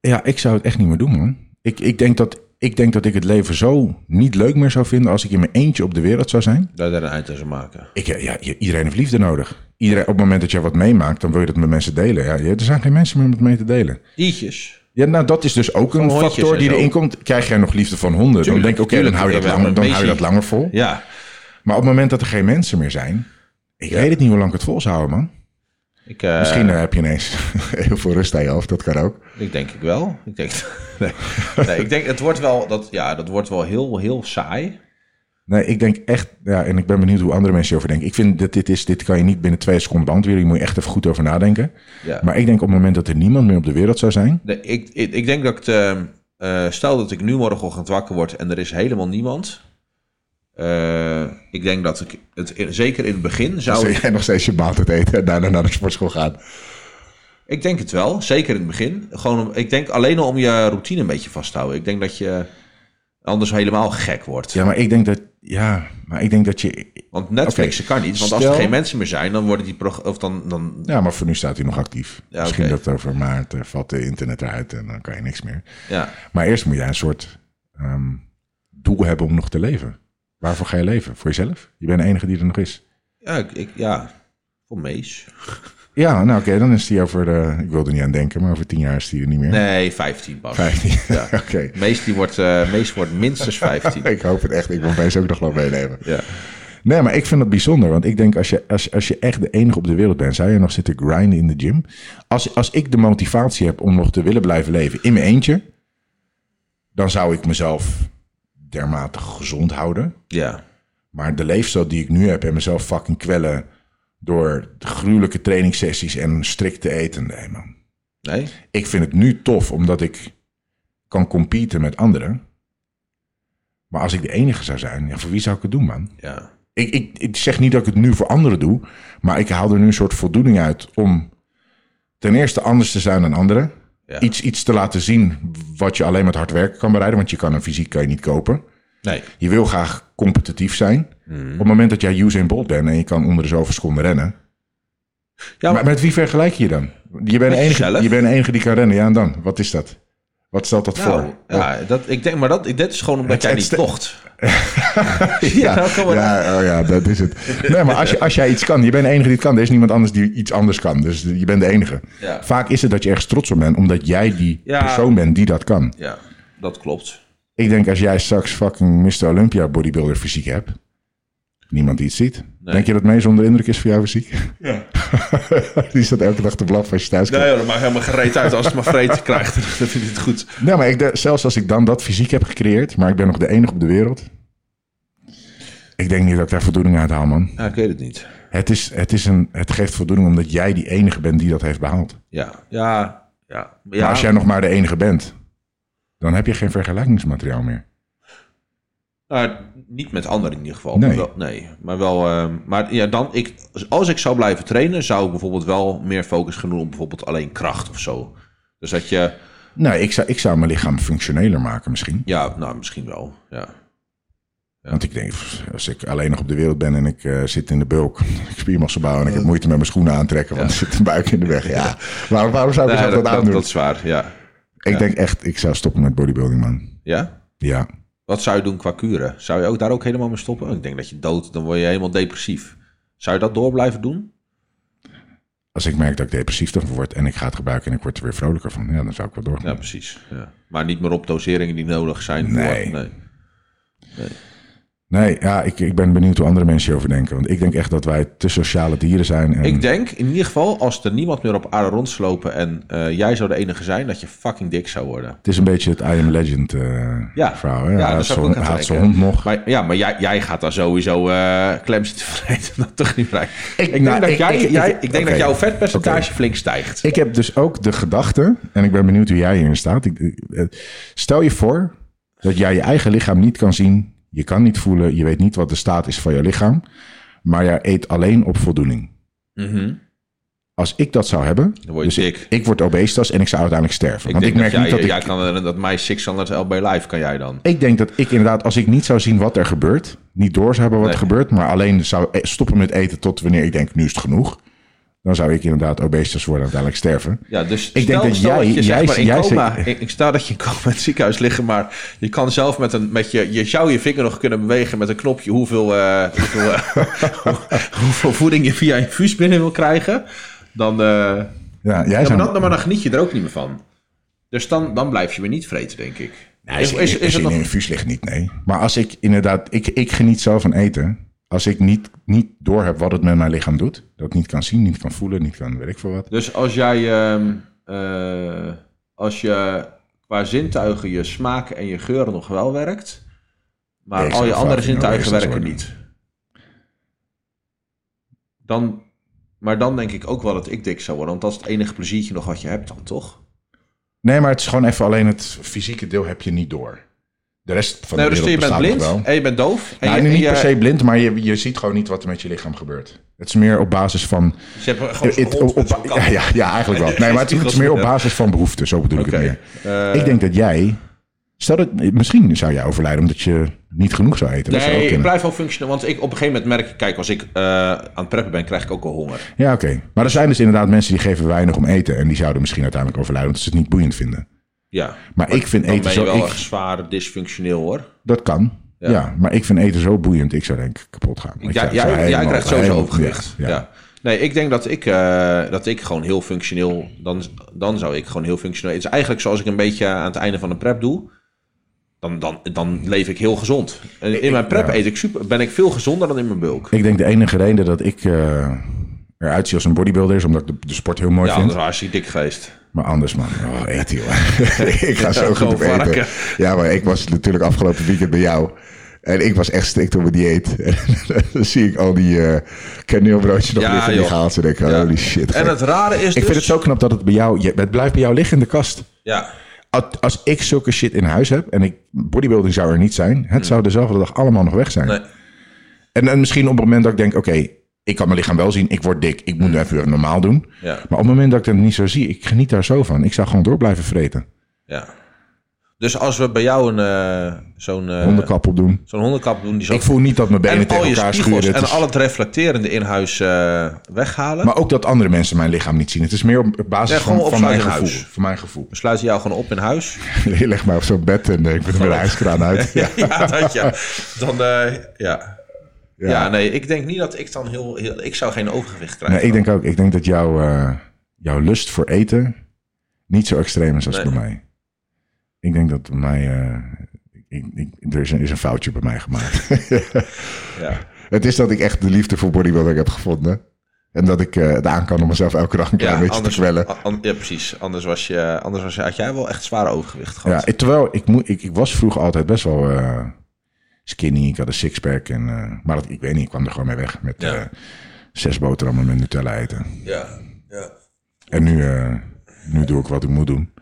[SPEAKER 1] Ja, ik zou het echt niet meer doen, man. Ik, ik, denk dat, ik denk dat ik het leven zo niet leuk meer zou vinden als ik in mijn eentje op de wereld zou zijn.
[SPEAKER 2] Daar daar een eind aan te maken.
[SPEAKER 1] Ik, eh, ja, i- iedereen heeft liefde nodig. Iedereen, op het moment dat jij wat meemaakt, dan wil je dat met mensen delen. Ja, je- er zijn geen mensen meer om het mee te delen.
[SPEAKER 2] Diertjes.
[SPEAKER 1] Ja, nou, dat is dus ook een
[SPEAKER 2] hondjes
[SPEAKER 1] factor
[SPEAKER 2] en
[SPEAKER 1] die
[SPEAKER 2] zo.
[SPEAKER 1] erin komt. Krijg jij nog liefde van honden? dan
[SPEAKER 2] Tuurlijk,
[SPEAKER 1] denk ik, oké, dan,
[SPEAKER 2] tuurlijk,
[SPEAKER 1] hou je dat
[SPEAKER 2] ja,
[SPEAKER 1] langer-
[SPEAKER 2] maar
[SPEAKER 1] dan
[SPEAKER 2] een
[SPEAKER 1] hou je dat
[SPEAKER 2] beetje-
[SPEAKER 1] langer vol.
[SPEAKER 2] Ja.
[SPEAKER 1] Maar op het moment dat er geen mensen meer zijn... Ik weet het niet hoe lang ik het vol zou houden, man.
[SPEAKER 2] Ik, eh,
[SPEAKER 1] Misschien eh, heb je ineens heel veel rust aan je hoofd. Dat kan ook.
[SPEAKER 2] Ik denk ik wel. Ik denk, nee. Nee, ik denk het wordt wel, dat, ja, dat wordt wel heel, heel saai.
[SPEAKER 1] Nee, ik denk echt... Ja, en ik ben benieuwd hoe andere mensen hierover denken. Ik vind dat dit is... Dit kan je niet binnen twee seconden beantwoorden. Hier moet je echt even goed over nadenken.
[SPEAKER 2] Ja.
[SPEAKER 1] Maar ik denk op het moment dat er niemand meer op de wereld zou zijn...
[SPEAKER 2] Nee, ik, ik, ik denk dat ik het, ehm, eh, stel dat ik nu morgenochtend wakker word en er is helemaal niemand. Eh, ik denk dat ik het zeker in het begin zou.
[SPEAKER 1] Zou jij nog steeds je maaltijd eten en daarna naar de sportschool gaan?
[SPEAKER 2] Ik denk het wel, zeker in het begin. Gewoon om, ik denk alleen al om je routine een beetje vast te houden. Ik denk dat je anders helemaal gek wordt.
[SPEAKER 1] Ja, maar ik denk dat... Ja, maar ik denk dat je...
[SPEAKER 2] Want Netflixen
[SPEAKER 1] Oké.
[SPEAKER 2] kan niet. Want als
[SPEAKER 1] Stel-
[SPEAKER 2] er geen mensen meer zijn, dan worden die prog- of dan, dan
[SPEAKER 1] Ja, maar voor nu staat hij nog actief.
[SPEAKER 2] Ja,
[SPEAKER 1] Misschien
[SPEAKER 2] oké.
[SPEAKER 1] dat over maart eh, valt de internet eruit en dan kan je niks meer.
[SPEAKER 2] ja.
[SPEAKER 1] Maar eerst moet jij een soort ehm, doel hebben om nog te leven. Waarvoor ga je leven? Voor jezelf? Je bent de enige die er nog is.
[SPEAKER 2] Ja, ik, ik- ja, voor Mees.
[SPEAKER 1] Ja, nou oké, dan is die over, eh, ik wil er niet aan denken, maar over tien jaar is die er niet meer.
[SPEAKER 2] Nee, 15 pas.
[SPEAKER 1] Vijftien.
[SPEAKER 2] Ja.
[SPEAKER 1] oké.
[SPEAKER 2] Mees, die wordt, eh, Mees wordt minstens 15.
[SPEAKER 1] Ik hoop het echt. Ik wil mensen ook nog wel meenemen.
[SPEAKER 2] Ja.
[SPEAKER 1] Nee, maar ik vind dat bijzonder. Want ik denk, als je, als, als je echt de enige op de wereld bent, zou je nog zitten grinden in de gym? Als, als ik de motivatie heb om nog te willen blijven leven in mijn eentje, dan zou ik mezelf dermate gezond houden.
[SPEAKER 2] ja.
[SPEAKER 1] Maar de leefstijl die ik nu heb en mezelf fucking kwellen door gruwelijke trainingssessies en strikt te eten, nee man.
[SPEAKER 2] Nee?
[SPEAKER 1] Ik vind het nu tof omdat ik kan competen met anderen. Maar als ik de enige zou zijn, ja, voor wie zou ik het doen, man?
[SPEAKER 2] Ja.
[SPEAKER 1] ik, ik, ik zeg niet dat ik het nu voor anderen doe, maar ik haal er nu een soort voldoening uit om ten eerste anders te zijn dan anderen.
[SPEAKER 2] Ja.
[SPEAKER 1] Iets, iets te laten zien wat je alleen met hard werken kan bereiden, want je kan een fysiek kan je niet kopen.
[SPEAKER 2] Nee.
[SPEAKER 1] Je wil graag competitief
[SPEAKER 2] Mhm.
[SPEAKER 1] zijn. Op het moment dat jij Usain Bolt bent en je kan onder de zoveel seconden rennen.
[SPEAKER 2] Ja,
[SPEAKER 1] Maar
[SPEAKER 2] maar,
[SPEAKER 1] met wie vergelijk je je dan? Je bent, de enige,
[SPEAKER 2] jezelf.
[SPEAKER 1] je bent de enige die kan rennen, ja en dan? Wat is dat? Wat stelt dat
[SPEAKER 2] Nou,
[SPEAKER 1] voor?
[SPEAKER 2] ja, dat, ik denk, maar dat, ik, dit is gewoon
[SPEAKER 1] Het-
[SPEAKER 2] omdat jij
[SPEAKER 1] het
[SPEAKER 2] niet Nou,
[SPEAKER 1] ste-
[SPEAKER 2] kocht. ja, dat kan wel.
[SPEAKER 1] ja, oh ja, dat is het. Nee, maar als, je, als jij iets kan, je bent de enige die het kan. Er is niemand anders die iets anders kan. Dus je bent de enige.
[SPEAKER 2] Ja.
[SPEAKER 1] Vaak is het dat je ergens trots op bent, omdat jij die
[SPEAKER 2] Ja.
[SPEAKER 1] persoon bent die dat kan.
[SPEAKER 2] Ja, dat klopt.
[SPEAKER 1] Ik denk als jij straks fucking Mr. Olympia bodybuilder fysiek hebt, niemand die het ziet. Denk je dat mij zonder indruk is voor jouw fysiek?
[SPEAKER 2] Ja.
[SPEAKER 1] die staat elke dag te blaffen als je thuis komt.
[SPEAKER 2] Nee, joh, dat maakt helemaal gereed uit als het maar vreed krijgt. Dat vind ik het goed.
[SPEAKER 1] Nee, maar ik, denk- zelfs als ik dan dat fysiek heb gecreëerd, maar ik ben nog de enige op de wereld. Ik denk niet dat ik daar voldoening uit haal, man.
[SPEAKER 2] Ja, ik weet het niet.
[SPEAKER 1] Het, is, het, is een, het geeft voldoening omdat jij die enige bent die dat heeft behaald.
[SPEAKER 2] Ja, ja, ja. Maar
[SPEAKER 1] Maar
[SPEAKER 2] ja,
[SPEAKER 1] als jij nog maar de enige bent, dan heb je geen vergelijkingsmateriaal meer.
[SPEAKER 2] nou, niet met anderen in ieder geval.
[SPEAKER 1] Nee.
[SPEAKER 2] Maar wel, nee, maar wel. ehm, maar ja, dan ik, als ik zou blijven trainen, zou ik bijvoorbeeld wel meer focus gaan doen op bijvoorbeeld alleen kracht of zo. Dus dat je,
[SPEAKER 1] Nou, ik zou, ik zou mijn lichaam functioneler maken misschien.
[SPEAKER 2] ja, nou, misschien wel. Ja.
[SPEAKER 1] Want ik denk, pff, als ik alleen nog op de wereld ben en ik eh, zit in de bulk, ik spiermassa bouwen en ik heb moeite met mijn schoenen aantrekken, want er zit een buik in de weg. Ja, waarom, waarom zou ik
[SPEAKER 2] Nee,
[SPEAKER 1] mezelf dat,
[SPEAKER 2] dat, dat,
[SPEAKER 1] aandoen?
[SPEAKER 2] dat is waar, ja.
[SPEAKER 1] ik denk echt, ik zou stoppen met bodybuilding, man.
[SPEAKER 2] Ja?
[SPEAKER 1] Ja.
[SPEAKER 2] Wat zou je doen qua kuren? Zou je ook daar ook helemaal mee stoppen? Ik denk dat je dood, dan word je helemaal depressief. Zou je dat door blijven doen?
[SPEAKER 1] Als ik merk dat ik depressief dan word en ik ga het gebruiken en ik word er weer vrolijker van, ja, dan zou ik wel doorgaan.
[SPEAKER 2] Ja, precies. Ja. Maar niet meer op doseringen die nodig zijn. voor-
[SPEAKER 1] Nee.
[SPEAKER 2] nee.
[SPEAKER 1] Nee, ja, ik, ik ben benieuwd hoe andere mensen hierover denken. Want ik denk echt dat wij te sociale dieren zijn. En
[SPEAKER 2] Ik denk in ieder geval, als er niemand meer op aarde rondslopen en eh, jij zou de enige zijn, dat je fucking dik zou worden.
[SPEAKER 1] Het is een beetje het I Am Legend eh
[SPEAKER 2] Ja.
[SPEAKER 1] verhaal. Hè?
[SPEAKER 2] Ja,
[SPEAKER 1] Hij
[SPEAKER 2] dat
[SPEAKER 1] haat zijn
[SPEAKER 2] zou ik ook
[SPEAKER 1] hond-
[SPEAKER 2] aan
[SPEAKER 1] hij haat zijn
[SPEAKER 2] denken.
[SPEAKER 1] hond nog.
[SPEAKER 2] Maar, ja, maar jij, jij gaat daar sowieso eh klem zitten vreten. Dat toch niet bij. Ik, denk,
[SPEAKER 1] nou,
[SPEAKER 2] dat,
[SPEAKER 1] ik-
[SPEAKER 2] jij,
[SPEAKER 1] ik- ik-
[SPEAKER 2] jij- ik denk
[SPEAKER 1] oké.
[SPEAKER 2] dat jouw vetpercentage
[SPEAKER 1] Oké.
[SPEAKER 2] flink stijgt.
[SPEAKER 1] Ik heb dus ook de gedachte, en ik ben benieuwd hoe jij hierin staat. Ik- ik- eh, stel je voor dat jij je eigen lichaam niet kan zien. Je kan niet voelen, je weet niet wat de staat is van je lichaam. Maar jij eet alleen op voldoening.
[SPEAKER 2] Mhm.
[SPEAKER 1] Als ik dat zou hebben,
[SPEAKER 2] Dan word je
[SPEAKER 1] dus
[SPEAKER 2] dik.
[SPEAKER 1] Ik, ik word obesitas en ik zou uiteindelijk sterven.
[SPEAKER 2] Ik
[SPEAKER 1] Want
[SPEAKER 2] denk
[SPEAKER 1] ik merk
[SPEAKER 2] dat jij,
[SPEAKER 1] niet dat
[SPEAKER 2] jij
[SPEAKER 1] ik...
[SPEAKER 2] kan eh, dat My 600 LB Live kan jij dan.
[SPEAKER 1] Ik denk dat ik inderdaad, als ik niet zou zien wat er gebeurt, niet door zou hebben wat er
[SPEAKER 2] Nee.
[SPEAKER 1] gebeurt, maar alleen zou e- stoppen met eten tot wanneer ik denk, nu is het genoeg. Dan zou ik inderdaad obesitas worden en uiteindelijk sterven.
[SPEAKER 2] Ja, dus
[SPEAKER 1] Ik
[SPEAKER 2] stel,
[SPEAKER 1] denk dat
[SPEAKER 2] stel
[SPEAKER 1] jij-
[SPEAKER 2] dat je zeg
[SPEAKER 1] jij-
[SPEAKER 2] maar in
[SPEAKER 1] jij
[SPEAKER 2] coma...
[SPEAKER 1] zegt-
[SPEAKER 2] Ik, ik stel dat je in coma in het ziekenhuis liggen, maar je kan zelf met een... Met je, je zou je vinger nog kunnen bewegen met een knopje hoeveel, eh, hoeveel, eh, hoe- hoeveel voeding je via infuus binnen wil krijgen. Dan, eh,
[SPEAKER 1] Ja, jij
[SPEAKER 2] ja, maar,
[SPEAKER 1] zou...
[SPEAKER 2] dan, maar dan geniet je er ook niet meer van. Dus dan, dan blijf je weer niet vreten, denk ik.
[SPEAKER 1] Nee, als je in- als je in
[SPEAKER 2] nog-
[SPEAKER 1] een infuus ligt niet, nee. Maar als ik inderdaad, ik, ik geniet zelf van eten. Als ik niet, niet doorheb wat het met mijn lichaam doet, dat niet kan zien, niet kan voelen, niet kan, weet ik veel wat.
[SPEAKER 2] Dus als jij... ehm, eh, als je qua zintuigen je smaak en je geuren nog wel werkt... Maar
[SPEAKER 1] Nee, ik
[SPEAKER 2] al je
[SPEAKER 1] zou
[SPEAKER 2] andere
[SPEAKER 1] fucking
[SPEAKER 2] zintuigen
[SPEAKER 1] obesitas
[SPEAKER 2] werken
[SPEAKER 1] worden.
[SPEAKER 2] niet. Dan, maar dan denk ik ook wel dat ik dik zou worden. Want dat is het enige pleziertje nog wat je hebt dan, toch?
[SPEAKER 1] Nee, maar het is gewoon even alleen het fysieke deel heb je niet door. De rest van
[SPEAKER 2] Nee,
[SPEAKER 1] de
[SPEAKER 2] dus
[SPEAKER 1] wereld
[SPEAKER 2] je bent
[SPEAKER 1] bestaat nog
[SPEAKER 2] blind
[SPEAKER 1] wel.
[SPEAKER 2] en je bent doof. En
[SPEAKER 1] Nou,
[SPEAKER 2] je,
[SPEAKER 1] niet per
[SPEAKER 2] en je-
[SPEAKER 1] se blind, maar je, je ziet gewoon niet wat er met je lichaam gebeurt. Het is meer op basis van.
[SPEAKER 2] dus je hebt gewoon zo'n
[SPEAKER 1] het-
[SPEAKER 2] hond
[SPEAKER 1] op-
[SPEAKER 2] met zo'n
[SPEAKER 1] op-
[SPEAKER 2] kap.
[SPEAKER 1] ja, ja, ja, eigenlijk wel. Nee, maar het, is- het is meer op basis van behoeften, zo bedoel ik
[SPEAKER 2] Oké, Eh,
[SPEAKER 1] het meer. ik denk dat jij. Stel dat, misschien zou jij overlijden omdat je niet genoeg zou eten. Dat zou ook
[SPEAKER 2] Nee, ik
[SPEAKER 1] kunnen.
[SPEAKER 2] blijf wel functioneren. Want ik, op een gegeven moment merk ik... Kijk, als ik eh, aan het preppen ben, krijg ik ook al honger.
[SPEAKER 1] Ja, oké. Maar er zijn dus inderdaad mensen die geven weinig om eten. En die zouden misschien uiteindelijk overlijden omdat ze het niet boeiend vinden.
[SPEAKER 2] Ja,
[SPEAKER 1] Maar ik vind
[SPEAKER 2] dan
[SPEAKER 1] eten
[SPEAKER 2] ben je
[SPEAKER 1] zo.
[SPEAKER 2] wel
[SPEAKER 1] ik-
[SPEAKER 2] echt zwaar dysfunctioneel, hoor.
[SPEAKER 1] dat kan. Ja. maar ik vind eten zo boeiend. Ik zou denk ik kapot gaan. Ik
[SPEAKER 2] Ja,
[SPEAKER 1] zou-
[SPEAKER 2] ja,
[SPEAKER 1] zou
[SPEAKER 2] ja, jij
[SPEAKER 1] helemaal-
[SPEAKER 2] krijgt sowieso
[SPEAKER 1] helemaal-
[SPEAKER 2] overgewicht. Ja,
[SPEAKER 1] ja, ja.
[SPEAKER 2] Nee, ik denk dat ik, eh, dat ik gewoon heel functioneel... Dan, dan zou ik gewoon heel functioneel... Het is eigenlijk zoals ik een beetje aan het einde van een prep doe... Dan, dan, dan leef ik heel gezond. En in mijn prep eet ik super, ben ik veel gezonder dan in mijn bulk.
[SPEAKER 1] Ik denk de enige reden dat ik eh, eruit zie als een bodybuilder is omdat ik de, de sport heel mooi
[SPEAKER 2] Ja,
[SPEAKER 1] vind.
[SPEAKER 2] anders was ik dik geweest.
[SPEAKER 1] Maar anders, man. Oh, eten, joh. ik ga zo goed
[SPEAKER 2] gewoon
[SPEAKER 1] op eten.
[SPEAKER 2] varken.
[SPEAKER 1] Ja, maar ik was natuurlijk afgelopen weekend bij jou. En ik was echt strikt op mijn dieet. En dan zie ik al die eh kaneelbroodjes nog
[SPEAKER 2] Ja,
[SPEAKER 1] liggen in die
[SPEAKER 2] joh.
[SPEAKER 1] gehaald. En denk ik,
[SPEAKER 2] Ja.
[SPEAKER 1] holy shit.
[SPEAKER 2] En
[SPEAKER 1] gek.
[SPEAKER 2] het rare is
[SPEAKER 1] ik vind
[SPEAKER 2] dus-
[SPEAKER 1] het zo knap dat het bij jou... je- Het blijft bij jou liggen in de kast.
[SPEAKER 2] Ja,
[SPEAKER 1] Als- Als ik zulke shit in huis heb... en ik, bodybuilding zou er niet zijn... het zou dezelfde dag allemaal nog weg zijn.
[SPEAKER 2] Mm. nee.
[SPEAKER 1] En, en misschien op het moment dat ik denk, oké, ik kan mijn lichaam wel zien, ik word dik, ik
[SPEAKER 2] Mm.
[SPEAKER 1] moet even weer normaal doen.
[SPEAKER 2] Ja.
[SPEAKER 1] Maar op het moment dat ik dat niet zo zie, ik geniet daar zo van. Ik zou gewoon door blijven vreten.
[SPEAKER 2] Ja. Dus als we bij jou een, eh, zo'n eh,
[SPEAKER 1] Hondenkap opdoen.
[SPEAKER 2] zo'n hondenkap doen... Die zo
[SPEAKER 1] Ik voel niet dat mijn benen
[SPEAKER 2] en al
[SPEAKER 1] tegen
[SPEAKER 2] je
[SPEAKER 1] elkaar
[SPEAKER 2] spiegels
[SPEAKER 1] schuren. Het
[SPEAKER 2] en
[SPEAKER 1] is-
[SPEAKER 2] al het reflecterende in huis eh, weghalen.
[SPEAKER 1] Maar ook dat andere mensen mijn lichaam niet zien. Het is meer op basis
[SPEAKER 2] Ja,
[SPEAKER 1] van,
[SPEAKER 2] gewoon
[SPEAKER 1] van, mijn
[SPEAKER 2] opsluiten in
[SPEAKER 1] gevoel,
[SPEAKER 2] huis.
[SPEAKER 1] van mijn gevoel.
[SPEAKER 2] We sluiten jou gewoon op in huis.
[SPEAKER 1] Leg maar op zo'n bed en eh, ik ben er met een ijskraan uit. Ja.
[SPEAKER 2] Ja, dat ja. Dan, eh, ja.
[SPEAKER 1] Ja.
[SPEAKER 2] Ja. nee, ik denk niet dat ik dan heel... heel ik zou geen overgewicht krijgen.
[SPEAKER 1] Nee, ik denk ook. Ik denk dat jouw, eh, jouw lust voor eten niet zo extreem is als
[SPEAKER 2] Nee.
[SPEAKER 1] bij mij. Ik denk dat bij mij... eh, ik, ik- er is een, is een foutje bij mij gemaakt.
[SPEAKER 2] Ja.
[SPEAKER 1] het is dat ik echt de liefde voor bodybuilding heb gevonden. En dat ik eh, het aan kan om mezelf elke dag een klein
[SPEAKER 2] Ja,
[SPEAKER 1] beetje
[SPEAKER 2] anders,
[SPEAKER 1] te kwellen.
[SPEAKER 2] a- an- ja, precies. Anders, was je, anders was je, had jij wel echt zwaar overgewicht gehad.
[SPEAKER 1] Ja, ik- terwijl ik, moet, ik, ik was vroeger altijd best wel eh, skinny. Ik had een sixpack. En, eh, maar dat, ik weet niet, ik kwam er gewoon mee weg met
[SPEAKER 2] Ja.
[SPEAKER 1] eh, zes boterhammen met Nutella eten.
[SPEAKER 2] Ja, ja.
[SPEAKER 1] En nu, eh, nu doe ik wat ik moet doen.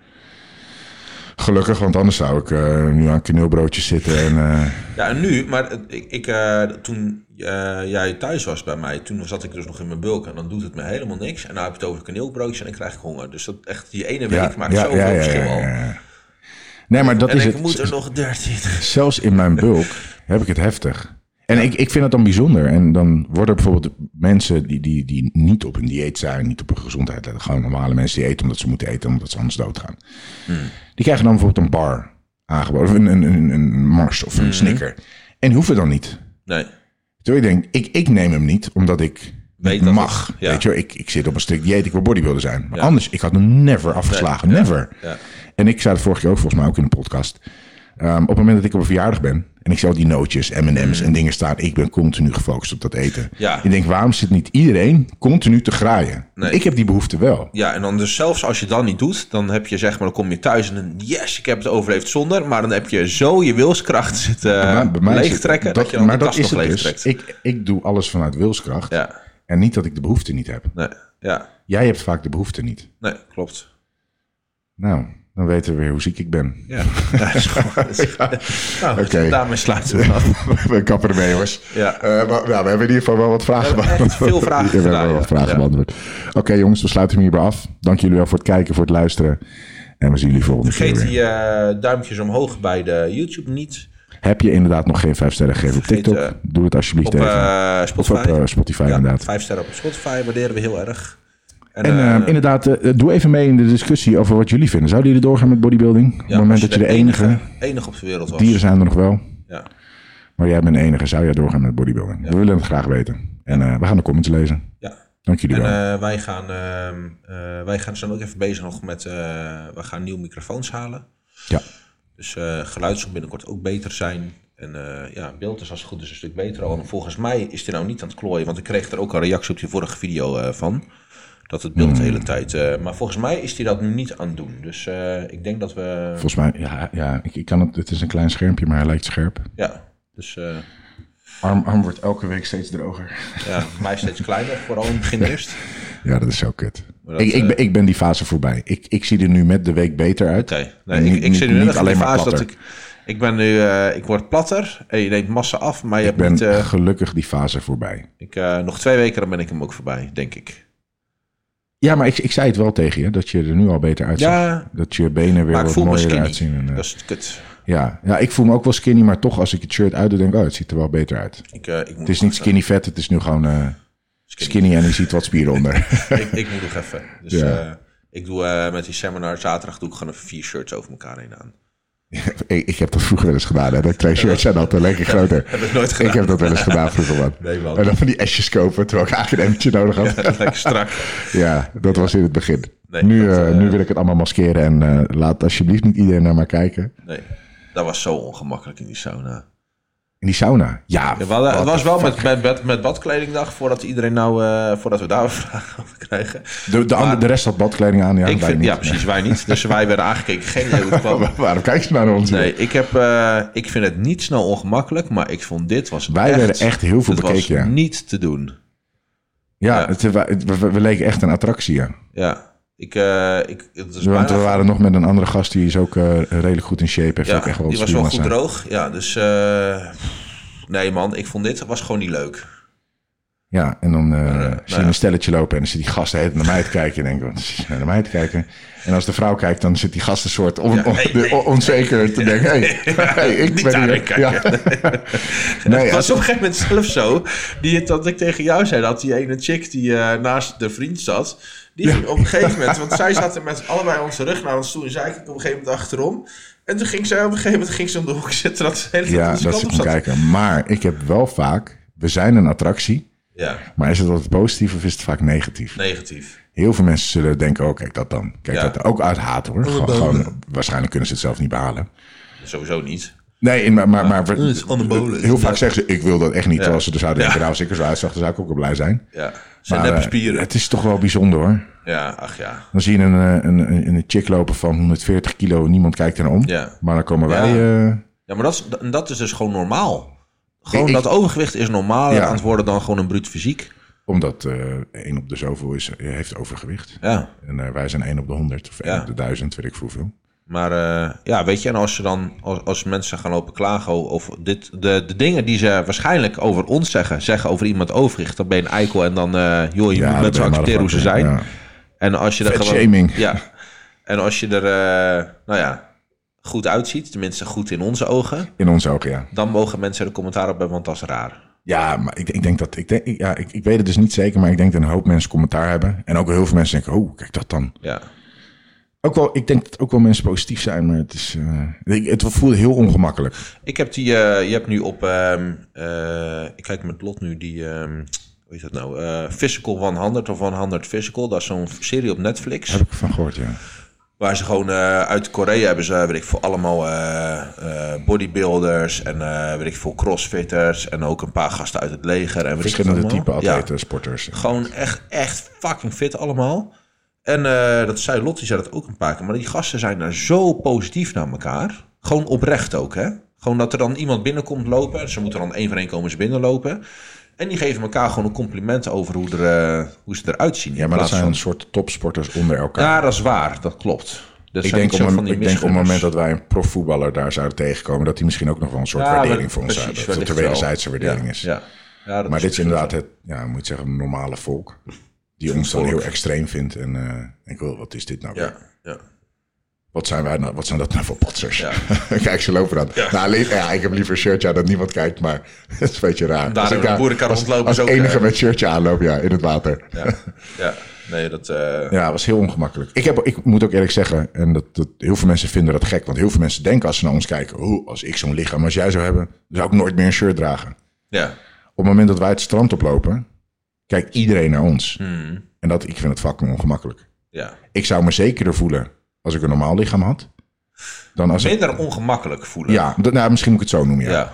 [SPEAKER 1] Gelukkig, want anders zou ik eh, nu aan kaneelbroodjes zitten. En, eh,
[SPEAKER 2] Ja, en nu, maar het- ik, ik, eh, toen eh, jij thuis was bij mij, toen zat ik dus nog in mijn bulk en dan doet het me helemaal niks. En nou heb je het over kaneelbroodjes en dan krijg ik honger. Dus dat echt, die ene week maakt zoveel verschil al.
[SPEAKER 1] ja. Nee, maar dat
[SPEAKER 2] En
[SPEAKER 1] is
[SPEAKER 2] ik
[SPEAKER 1] het.
[SPEAKER 2] moet er nog 13.
[SPEAKER 1] Zelfs in mijn bulk heb ik het heftig. En ik, ik vind het dan bijzonder. En dan worden bijvoorbeeld mensen die, die, die niet op een dieet zijn, niet op hun gezondheid letten, gewoon normale mensen die eten omdat ze moeten eten, omdat ze anders doodgaan.
[SPEAKER 2] Hmm.
[SPEAKER 1] Die krijgen dan bijvoorbeeld een bar aangeboden, of een, een, een, een mars of een
[SPEAKER 2] Hmm.
[SPEAKER 1] snicker. En die hoeven dan niet.
[SPEAKER 2] Nee.
[SPEAKER 1] Terwijl ik denk, ik, ik neem hem niet omdat ik
[SPEAKER 2] Weet
[SPEAKER 1] niet
[SPEAKER 2] dat
[SPEAKER 1] mag.
[SPEAKER 2] het- ja.
[SPEAKER 1] Weet je, wel, ik, ik zit op een strikt dieet, ik wil bodybuilder zijn. Maar anders, ik had hem never afgeslagen. Never.
[SPEAKER 2] Ja.
[SPEAKER 1] En ik zei het vorige keer ook volgens mij ook in de podcast. Ehm, op het moment dat ik op een verjaardag ben en ik zie al die nootjes, MM's en dingen staan, ik ben continu gefocust op dat eten.
[SPEAKER 2] Mm. Ja.
[SPEAKER 1] Ik denk, waarom zit niet iedereen continu te graaien?
[SPEAKER 2] Nee.
[SPEAKER 1] Ik heb die behoefte wel.
[SPEAKER 2] Ja, en dan dus zelfs als je dat niet doet, dan heb je zeg maar, dan kom je thuis en dan, yes, ik heb het overleefd zonder. Maar dan heb je zo je wilskracht
[SPEAKER 1] Maar
[SPEAKER 2] zitten
[SPEAKER 1] bij mij is het-
[SPEAKER 2] leegtrekken, dat, je dan
[SPEAKER 1] maar
[SPEAKER 2] de
[SPEAKER 1] dat
[SPEAKER 2] kast
[SPEAKER 1] is
[SPEAKER 2] nog
[SPEAKER 1] het
[SPEAKER 2] leegtrekt.
[SPEAKER 1] dus. Ik, ik doe alles vanuit wilskracht
[SPEAKER 2] Ja,
[SPEAKER 1] en niet dat ik de behoefte niet heb.
[SPEAKER 2] nee, ja,
[SPEAKER 1] Jij hebt vaak de behoefte niet.
[SPEAKER 2] nee, klopt.
[SPEAKER 1] Nou, dan weten we weer hoe ziek ik ben.
[SPEAKER 2] Ja, ja is goed. Nou,
[SPEAKER 1] Oké.
[SPEAKER 2] daarmee sluiten we af.
[SPEAKER 1] we kappen ermee, jongens.
[SPEAKER 2] Ja.
[SPEAKER 1] Eh, maar, nou, we hebben in ieder geval wel wat vragen
[SPEAKER 2] We hebben echt veel vragen
[SPEAKER 1] Ja, we hebben
[SPEAKER 2] gedaan,
[SPEAKER 1] wel
[SPEAKER 2] ja.
[SPEAKER 1] wat vragen
[SPEAKER 2] Ja.
[SPEAKER 1] beantwoord. Oké, jongens, we sluiten hem hierbij af. Dank jullie wel voor het kijken, voor het luisteren. En we zien jullie volgende
[SPEAKER 2] Vergeet
[SPEAKER 1] keer weer.
[SPEAKER 2] die eh, duimpjes omhoog bij de YouTube niet.
[SPEAKER 1] Heb je inderdaad nog geen 5 sterren gegeven op
[SPEAKER 2] Vergeet,
[SPEAKER 1] TikTok?
[SPEAKER 2] eh,
[SPEAKER 1] Doe het alsjeblieft
[SPEAKER 2] Op
[SPEAKER 1] even.
[SPEAKER 2] eh,
[SPEAKER 1] of op
[SPEAKER 2] Spotify.
[SPEAKER 1] eh, Spotify,
[SPEAKER 2] ja,
[SPEAKER 1] inderdaad.
[SPEAKER 2] Vijf sterren op Spotify waarderen we heel erg. En,
[SPEAKER 1] En
[SPEAKER 2] eh,
[SPEAKER 1] eh, inderdaad, eh, doe even mee in de discussie over wat jullie vinden. Zouden jullie doorgaan met bodybuilding? op het
[SPEAKER 2] ja,
[SPEAKER 1] moment
[SPEAKER 2] als
[SPEAKER 1] dat je de enige,
[SPEAKER 2] enige op de wereld was.
[SPEAKER 1] dieren zijn er nog wel,
[SPEAKER 2] Ja.
[SPEAKER 1] maar jij bent de enige. Zou jij doorgaan met bodybuilding? We willen het graag weten. En eh, we gaan de comments lezen.
[SPEAKER 2] ja.
[SPEAKER 1] Dank jullie
[SPEAKER 2] En
[SPEAKER 1] wel.
[SPEAKER 2] eh, wij, gaan, ehm, eh, wij gaan, zijn ook even bezig nog met... eh, we gaan nieuwe microfoons halen.
[SPEAKER 1] ja.
[SPEAKER 2] Dus eh, geluid zal binnenkort ook beter zijn. En eh, ja, beeld is als het goed is een stuk beter al. En volgens mij is die nou niet aan het klooien. Want ik kreeg er ook een reactie op die vorige video eh, van. Dat het beeld de hele tijd... eh, maar volgens mij is die dat nu niet aan het doen. Dus eh, ik denk dat we...
[SPEAKER 1] Volgens mij, ja, ja ik, ik kan het. Het is een klein schermpje, maar hij lijkt scherp.
[SPEAKER 2] Ja, dus eh,
[SPEAKER 1] Arm, arm wordt elke week steeds droger.
[SPEAKER 2] ja, mij steeds kleiner. Vooral in het begin eerst.
[SPEAKER 1] Ja, dat is zo kut.
[SPEAKER 2] Maar dat, eh,
[SPEAKER 1] ik, ik, ben, ik ben die fase voorbij. Ik, ik zie er nu met de week beter uit.
[SPEAKER 2] Oké, nee,
[SPEAKER 1] En
[SPEAKER 2] ik,
[SPEAKER 1] niet-
[SPEAKER 2] ik zit nu
[SPEAKER 1] niet-
[SPEAKER 2] net
[SPEAKER 1] niet
[SPEAKER 2] in de
[SPEAKER 1] alleen maar
[SPEAKER 2] fase dat
[SPEAKER 1] platter.
[SPEAKER 2] ik... Ik ben nu... eh, ik word platter. En je neemt massa af. Maar je
[SPEAKER 1] Ik
[SPEAKER 2] hebt
[SPEAKER 1] ben
[SPEAKER 2] niet... eh,
[SPEAKER 1] gelukkig die fase voorbij.
[SPEAKER 2] ik, eh, nog twee weken dan ben ik hem ook voorbij, denk ik.
[SPEAKER 1] Ja, maar ik, ik zei het wel tegen je, dat je er nu al beter uitziet.
[SPEAKER 2] Ja.
[SPEAKER 1] Dat je benen weer
[SPEAKER 2] Maar ik
[SPEAKER 1] wat
[SPEAKER 2] voel me
[SPEAKER 1] mooier
[SPEAKER 2] skinny.
[SPEAKER 1] uitzien. En, eh,
[SPEAKER 2] Dat is het kut.
[SPEAKER 1] ja. ja, ik voel me ook wel skinny, maar toch als ik het shirt uitdoe, denk ik, oh, het ziet er wel beter uit.
[SPEAKER 2] Ik, eh, ik moet
[SPEAKER 1] Het is niet skinny vet, het is nu gewoon eh, skinny en je ziet wat spieren onder.
[SPEAKER 2] ik, ik moet nog even. Dus
[SPEAKER 1] Ja.
[SPEAKER 2] eh, ik doe eh, met die seminar zaterdag doe ik gewoon even vier shirts over elkaar heen aan.
[SPEAKER 1] ik, ik heb dat vroeger wel eens gedaan. Hè? Dat ik twee shirts zijn altijd lekker groter.
[SPEAKER 2] Heb ik nooit gedaan.
[SPEAKER 1] Ik heb dat wel eens gedaan vroeger, man.
[SPEAKER 2] Nee, man.
[SPEAKER 1] En dan van die esjes kopen, terwijl ik eigenlijk een emmertje nodig had.
[SPEAKER 2] Lekker strak.
[SPEAKER 1] Ja, dat was in het begin.
[SPEAKER 2] Nee,
[SPEAKER 1] nu,
[SPEAKER 2] dat,
[SPEAKER 1] eh,
[SPEAKER 2] eh,
[SPEAKER 1] nu wil ik het allemaal maskeren en eh, laat alsjeblieft niet iedereen naar mij kijken.
[SPEAKER 2] Nee, dat was zo ongemakkelijk in die sauna.
[SPEAKER 1] In die sauna. Ja,
[SPEAKER 2] Ja, we hadden- het
[SPEAKER 1] what
[SPEAKER 2] was
[SPEAKER 1] the
[SPEAKER 2] wel
[SPEAKER 1] fuck.
[SPEAKER 2] met, met, met, met badkledingdag voordat iedereen nou, eh, voordat we daar vragen over krijgen.
[SPEAKER 1] De, de, ander- de rest had badkleding aan, ja,
[SPEAKER 2] ik
[SPEAKER 1] wij
[SPEAKER 2] vind,
[SPEAKER 1] niet.
[SPEAKER 2] ja, precies, wij niet. Dus wij werden aangekeken. Geen idee hoe het kwam.
[SPEAKER 1] Wa- Waarom kijk je nou naar ons?
[SPEAKER 2] Nee, ik, heb, eh, ik vind het niet snel ongemakkelijk, maar ik vond dit was
[SPEAKER 1] Wij
[SPEAKER 2] echt,
[SPEAKER 1] werden echt heel veel
[SPEAKER 2] het
[SPEAKER 1] bekeken, ja.
[SPEAKER 2] was niet te doen.
[SPEAKER 1] Ja,
[SPEAKER 2] Ja.
[SPEAKER 1] het- we, we- we leken echt een attractie, ja.
[SPEAKER 2] Ja, ik, eh, ik, het was
[SPEAKER 1] Want we
[SPEAKER 2] bijna-
[SPEAKER 1] waren nog met een andere gast, die is ook eh, redelijk goed in shape. Heeft
[SPEAKER 2] Ja,
[SPEAKER 1] ook echt wel
[SPEAKER 2] die
[SPEAKER 1] wat
[SPEAKER 2] was wel goed
[SPEAKER 1] spiermassa.
[SPEAKER 2] droog. Ja, dus eh, nee man, ik vond dit was gewoon niet leuk.
[SPEAKER 1] Ja, en dan eh, zie
[SPEAKER 3] nou
[SPEAKER 1] je een stelletje lopen en dan zit die gast de hele tijd naar mij te kijken. En denk ik, wat zit je nou naar mij te kijken? En als de vrouw kijkt, dan zit die gast een soort on, on-
[SPEAKER 2] hey,
[SPEAKER 1] de-
[SPEAKER 2] hey.
[SPEAKER 1] on- onzeker te denken. hey, hey, ik
[SPEAKER 2] Niet
[SPEAKER 1] ben
[SPEAKER 2] daar
[SPEAKER 1] hier.
[SPEAKER 2] naar
[SPEAKER 1] Ja. nee,
[SPEAKER 3] Het was
[SPEAKER 1] ja,
[SPEAKER 3] op een gegeven moment zelf zo die, dat ik tegen jou zei dat die ene chick die eh, naast de vriend zat. Die ging op een gegeven moment, want zij zaten met allebei onze rug naar ons toe en zij keek op een gegeven moment achterom. En toen ging zij op een gegeven moment ging ze om de hoek zitten dat ze de hele tijd
[SPEAKER 1] ja,
[SPEAKER 3] onze
[SPEAKER 1] dat
[SPEAKER 3] kant
[SPEAKER 1] ze
[SPEAKER 3] op
[SPEAKER 1] kon
[SPEAKER 3] zat.
[SPEAKER 1] kijken. Maar ik heb wel vaak, we zijn een attractie.
[SPEAKER 3] Ja,
[SPEAKER 1] Maar is het altijd positief of is het vaak negatief?
[SPEAKER 3] negatief.
[SPEAKER 1] Heel veel mensen zullen denken, oh kijk dat dan. Kijk
[SPEAKER 3] Ja.
[SPEAKER 1] dat ook uit haat hoor. Gewoon,
[SPEAKER 3] dan-
[SPEAKER 1] gewoon- waarschijnlijk kunnen ze het zelf niet behalen.
[SPEAKER 3] Sowieso niet.
[SPEAKER 1] Nee, in- maar, maar, maar we-
[SPEAKER 3] dat is anabolen.
[SPEAKER 1] heel vaak zeggen ze, ik wil dat echt niet. Terwijl ze er zouden denken,
[SPEAKER 3] Ja.
[SPEAKER 1] nou als ik er zo uitzag, dan zou ik ook wel blij zijn.
[SPEAKER 3] Ja. Zijn
[SPEAKER 1] Maar,
[SPEAKER 3] neppe
[SPEAKER 1] eh,
[SPEAKER 3] spieren.
[SPEAKER 1] Het is toch wel bijzonder hoor.
[SPEAKER 3] Ja, ach ja.
[SPEAKER 1] Dan zie je een, eh, een, een, een chick lopen van 140 kilo en niemand kijkt er om.
[SPEAKER 3] Ja.
[SPEAKER 1] Maar dan komen wij... eh,
[SPEAKER 2] Ja, maar dat is, en dat is dus gewoon normaal. Gewoon
[SPEAKER 1] Ik- ik-
[SPEAKER 2] dat overgewicht is normaler
[SPEAKER 1] Ja.
[SPEAKER 2] aan het worden dan gewoon een bruut fysiek.
[SPEAKER 1] omdat eh één op de zoveel is, eh, heeft overgewicht.
[SPEAKER 2] Ja,
[SPEAKER 1] En eh, wij zijn één op de 100 of één
[SPEAKER 2] Ja.
[SPEAKER 1] op de 1000, weet ik voor hoeveel.
[SPEAKER 2] maar eh, ja, weet je, en als, ze dan, als, als mensen gaan lopen klagen over dit, de, de dingen die ze waarschijnlijk over ons zeggen, zeggen over iemand overgewicht, dan ben je een eikel en dan, eh, joh, je
[SPEAKER 1] Ja, dat
[SPEAKER 2] moet mensen
[SPEAKER 1] ben je
[SPEAKER 2] accepteren hoe ze zijn.
[SPEAKER 1] motherfucker,
[SPEAKER 2] En als je er
[SPEAKER 1] Fat
[SPEAKER 2] gewoon.
[SPEAKER 1] shaming.
[SPEAKER 2] Ja. En als je er, eh, nou ja, goed uitziet, tenminste goed in onze ogen,
[SPEAKER 1] In ons ook, ja.
[SPEAKER 2] dan mogen mensen er commentaar op hebben, want dat is raar.
[SPEAKER 1] Ja, maar ik, ik denk dat. Ik, denk, ik- ja, ik, ik weet het dus niet zeker, maar ik denk dat een hoop mensen commentaar hebben. En ook heel veel mensen denken: oh, kijk dat dan.
[SPEAKER 2] Ja.
[SPEAKER 1] Ook wel, ik denk dat ook wel mensen positief zijn, maar het is. eh, ik- het voelde heel ongemakkelijk.
[SPEAKER 2] Ik heb die, eh, je hebt nu op, ehm, eh, ik kijk met Lot nu die, ehm hoe heet dat nou, Eh, Physical 100 of 100 Physical, dat is zo'n serie op Netflix.
[SPEAKER 1] Daar heb ik van gehoord, ja.
[SPEAKER 2] Waar ze gewoon eh, uit Korea hebben ze, weet ik veel, allemaal eh, eh, bodybuilders en eh, weet ik veel, crossfitters en ook een paar gasten uit het leger. En weet
[SPEAKER 1] Verschillende
[SPEAKER 2] ik veel
[SPEAKER 1] type
[SPEAKER 2] allemaal. Ja.
[SPEAKER 1] atleten, sporters.
[SPEAKER 2] Gewoon echt, echt fucking fit allemaal. En eh, dat zei Lot, die zei dat ook een paar keer. Maar die gasten zijn daar zo positief naar elkaar. Gewoon oprecht ook, hè. Gewoon dat er dan iemand binnenkomt lopen. En ze moeten dan één voor één komen ze binnenlopen. En die geven elkaar gewoon een compliment over hoe, er, eh, hoe ze eruit zien.
[SPEAKER 1] Ja, maar dat zijn een soort topsporters onder elkaar.
[SPEAKER 2] Ja, dat is waar. Dat klopt. Dat
[SPEAKER 1] ik
[SPEAKER 2] zijn
[SPEAKER 1] denk,
[SPEAKER 2] niet
[SPEAKER 1] op,
[SPEAKER 2] zo
[SPEAKER 1] een-
[SPEAKER 2] van die
[SPEAKER 1] ik denk op het moment
[SPEAKER 2] misgunners.
[SPEAKER 1] dat wij een profvoetballer daar zouden tegenkomen, dat die misschien ook nog wel een soort
[SPEAKER 2] Ja,
[SPEAKER 1] waardering
[SPEAKER 2] wel-
[SPEAKER 1] voor ons
[SPEAKER 2] precies,
[SPEAKER 1] zou hebben. Dat het een
[SPEAKER 2] wellicht wel.
[SPEAKER 1] wederzijdse waardering
[SPEAKER 2] Ja,
[SPEAKER 1] is.
[SPEAKER 2] Ja. Ja, dat
[SPEAKER 1] Maar
[SPEAKER 2] is
[SPEAKER 1] dit is
[SPEAKER 2] misschien
[SPEAKER 1] inderdaad het, ja, moet je zeggen, normale volk. Die ons dan
[SPEAKER 2] volk.
[SPEAKER 1] heel extreem vindt. En eh, ik wil, wat is dit nou
[SPEAKER 2] zo.
[SPEAKER 1] weer?
[SPEAKER 2] Ja, ja.
[SPEAKER 1] Wat zijn, wij nou, wat zijn dat nou voor potsers?
[SPEAKER 2] Ja.
[SPEAKER 1] Kijk, ze lopen dan. Nou, li- ja, ik heb liever een shirtje aan dat niemand kijkt, maar het is een beetje raar.
[SPEAKER 2] Daar
[SPEAKER 1] Als ik
[SPEAKER 2] een boerenkar
[SPEAKER 1] als,
[SPEAKER 2] rondlopen
[SPEAKER 1] als
[SPEAKER 2] is ook,
[SPEAKER 1] enige
[SPEAKER 2] eh,
[SPEAKER 1] met shirtje aanloop, ja, in het water. Ja,
[SPEAKER 2] ja, ja. Nee, dat... eh,
[SPEAKER 1] het was heel ongemakkelijk. Ik, heb, ik moet ook eerlijk zeggen, en dat, dat, heel veel mensen vinden dat gek. Want heel veel mensen denken als ze naar ons kijken, oh, als ik zo'n lichaam als jij zou hebben, dan zou ik nooit meer een shirt dragen.
[SPEAKER 2] ja.
[SPEAKER 1] Op het moment dat wij het strand oplopen, kijkt iedereen naar ons.
[SPEAKER 2] Hmm.
[SPEAKER 1] En dat, ik vind het fucking ongemakkelijk.
[SPEAKER 2] Mm, ja.
[SPEAKER 1] Ik zou me zekerder voelen als ik een normaal lichaam had. Dan als ik,
[SPEAKER 2] minder ongemakkelijk voelen.
[SPEAKER 1] ja, dat- nou, misschien moet ik het zo noemen. Ja.
[SPEAKER 2] ja.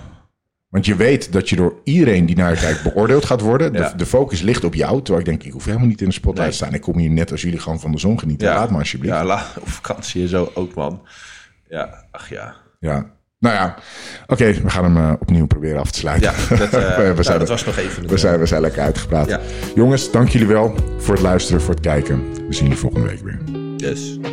[SPEAKER 1] Want je weet dat je door iedereen die naar je kijkt beoordeeld gaat worden. De,
[SPEAKER 2] Ja.
[SPEAKER 1] de focus ligt op jou. Terwijl ik denk, ik hoef helemaal niet in de spotlight
[SPEAKER 2] Nee.
[SPEAKER 1] te staan. Ik kom hier net als jullie gewoon van de zon genieten.
[SPEAKER 2] Ja.
[SPEAKER 1] Laat maar alsjeblieft. Ja.
[SPEAKER 2] Ja, la, op vakantie en zo ook, man. Ja, ach ja.
[SPEAKER 1] Nou ja, oké, we gaan hem eh, opnieuw proberen af te sluiten.
[SPEAKER 2] Ja, dat, eh,
[SPEAKER 1] we,
[SPEAKER 2] nou,
[SPEAKER 1] zijn,
[SPEAKER 2] dat was nog even.
[SPEAKER 1] we, zijn, we zijn lekker uitgepraat.
[SPEAKER 2] Ja.
[SPEAKER 1] Jongens, dank jullie wel voor het luisteren, voor het kijken. We zien jullie volgende week weer.
[SPEAKER 2] Yes.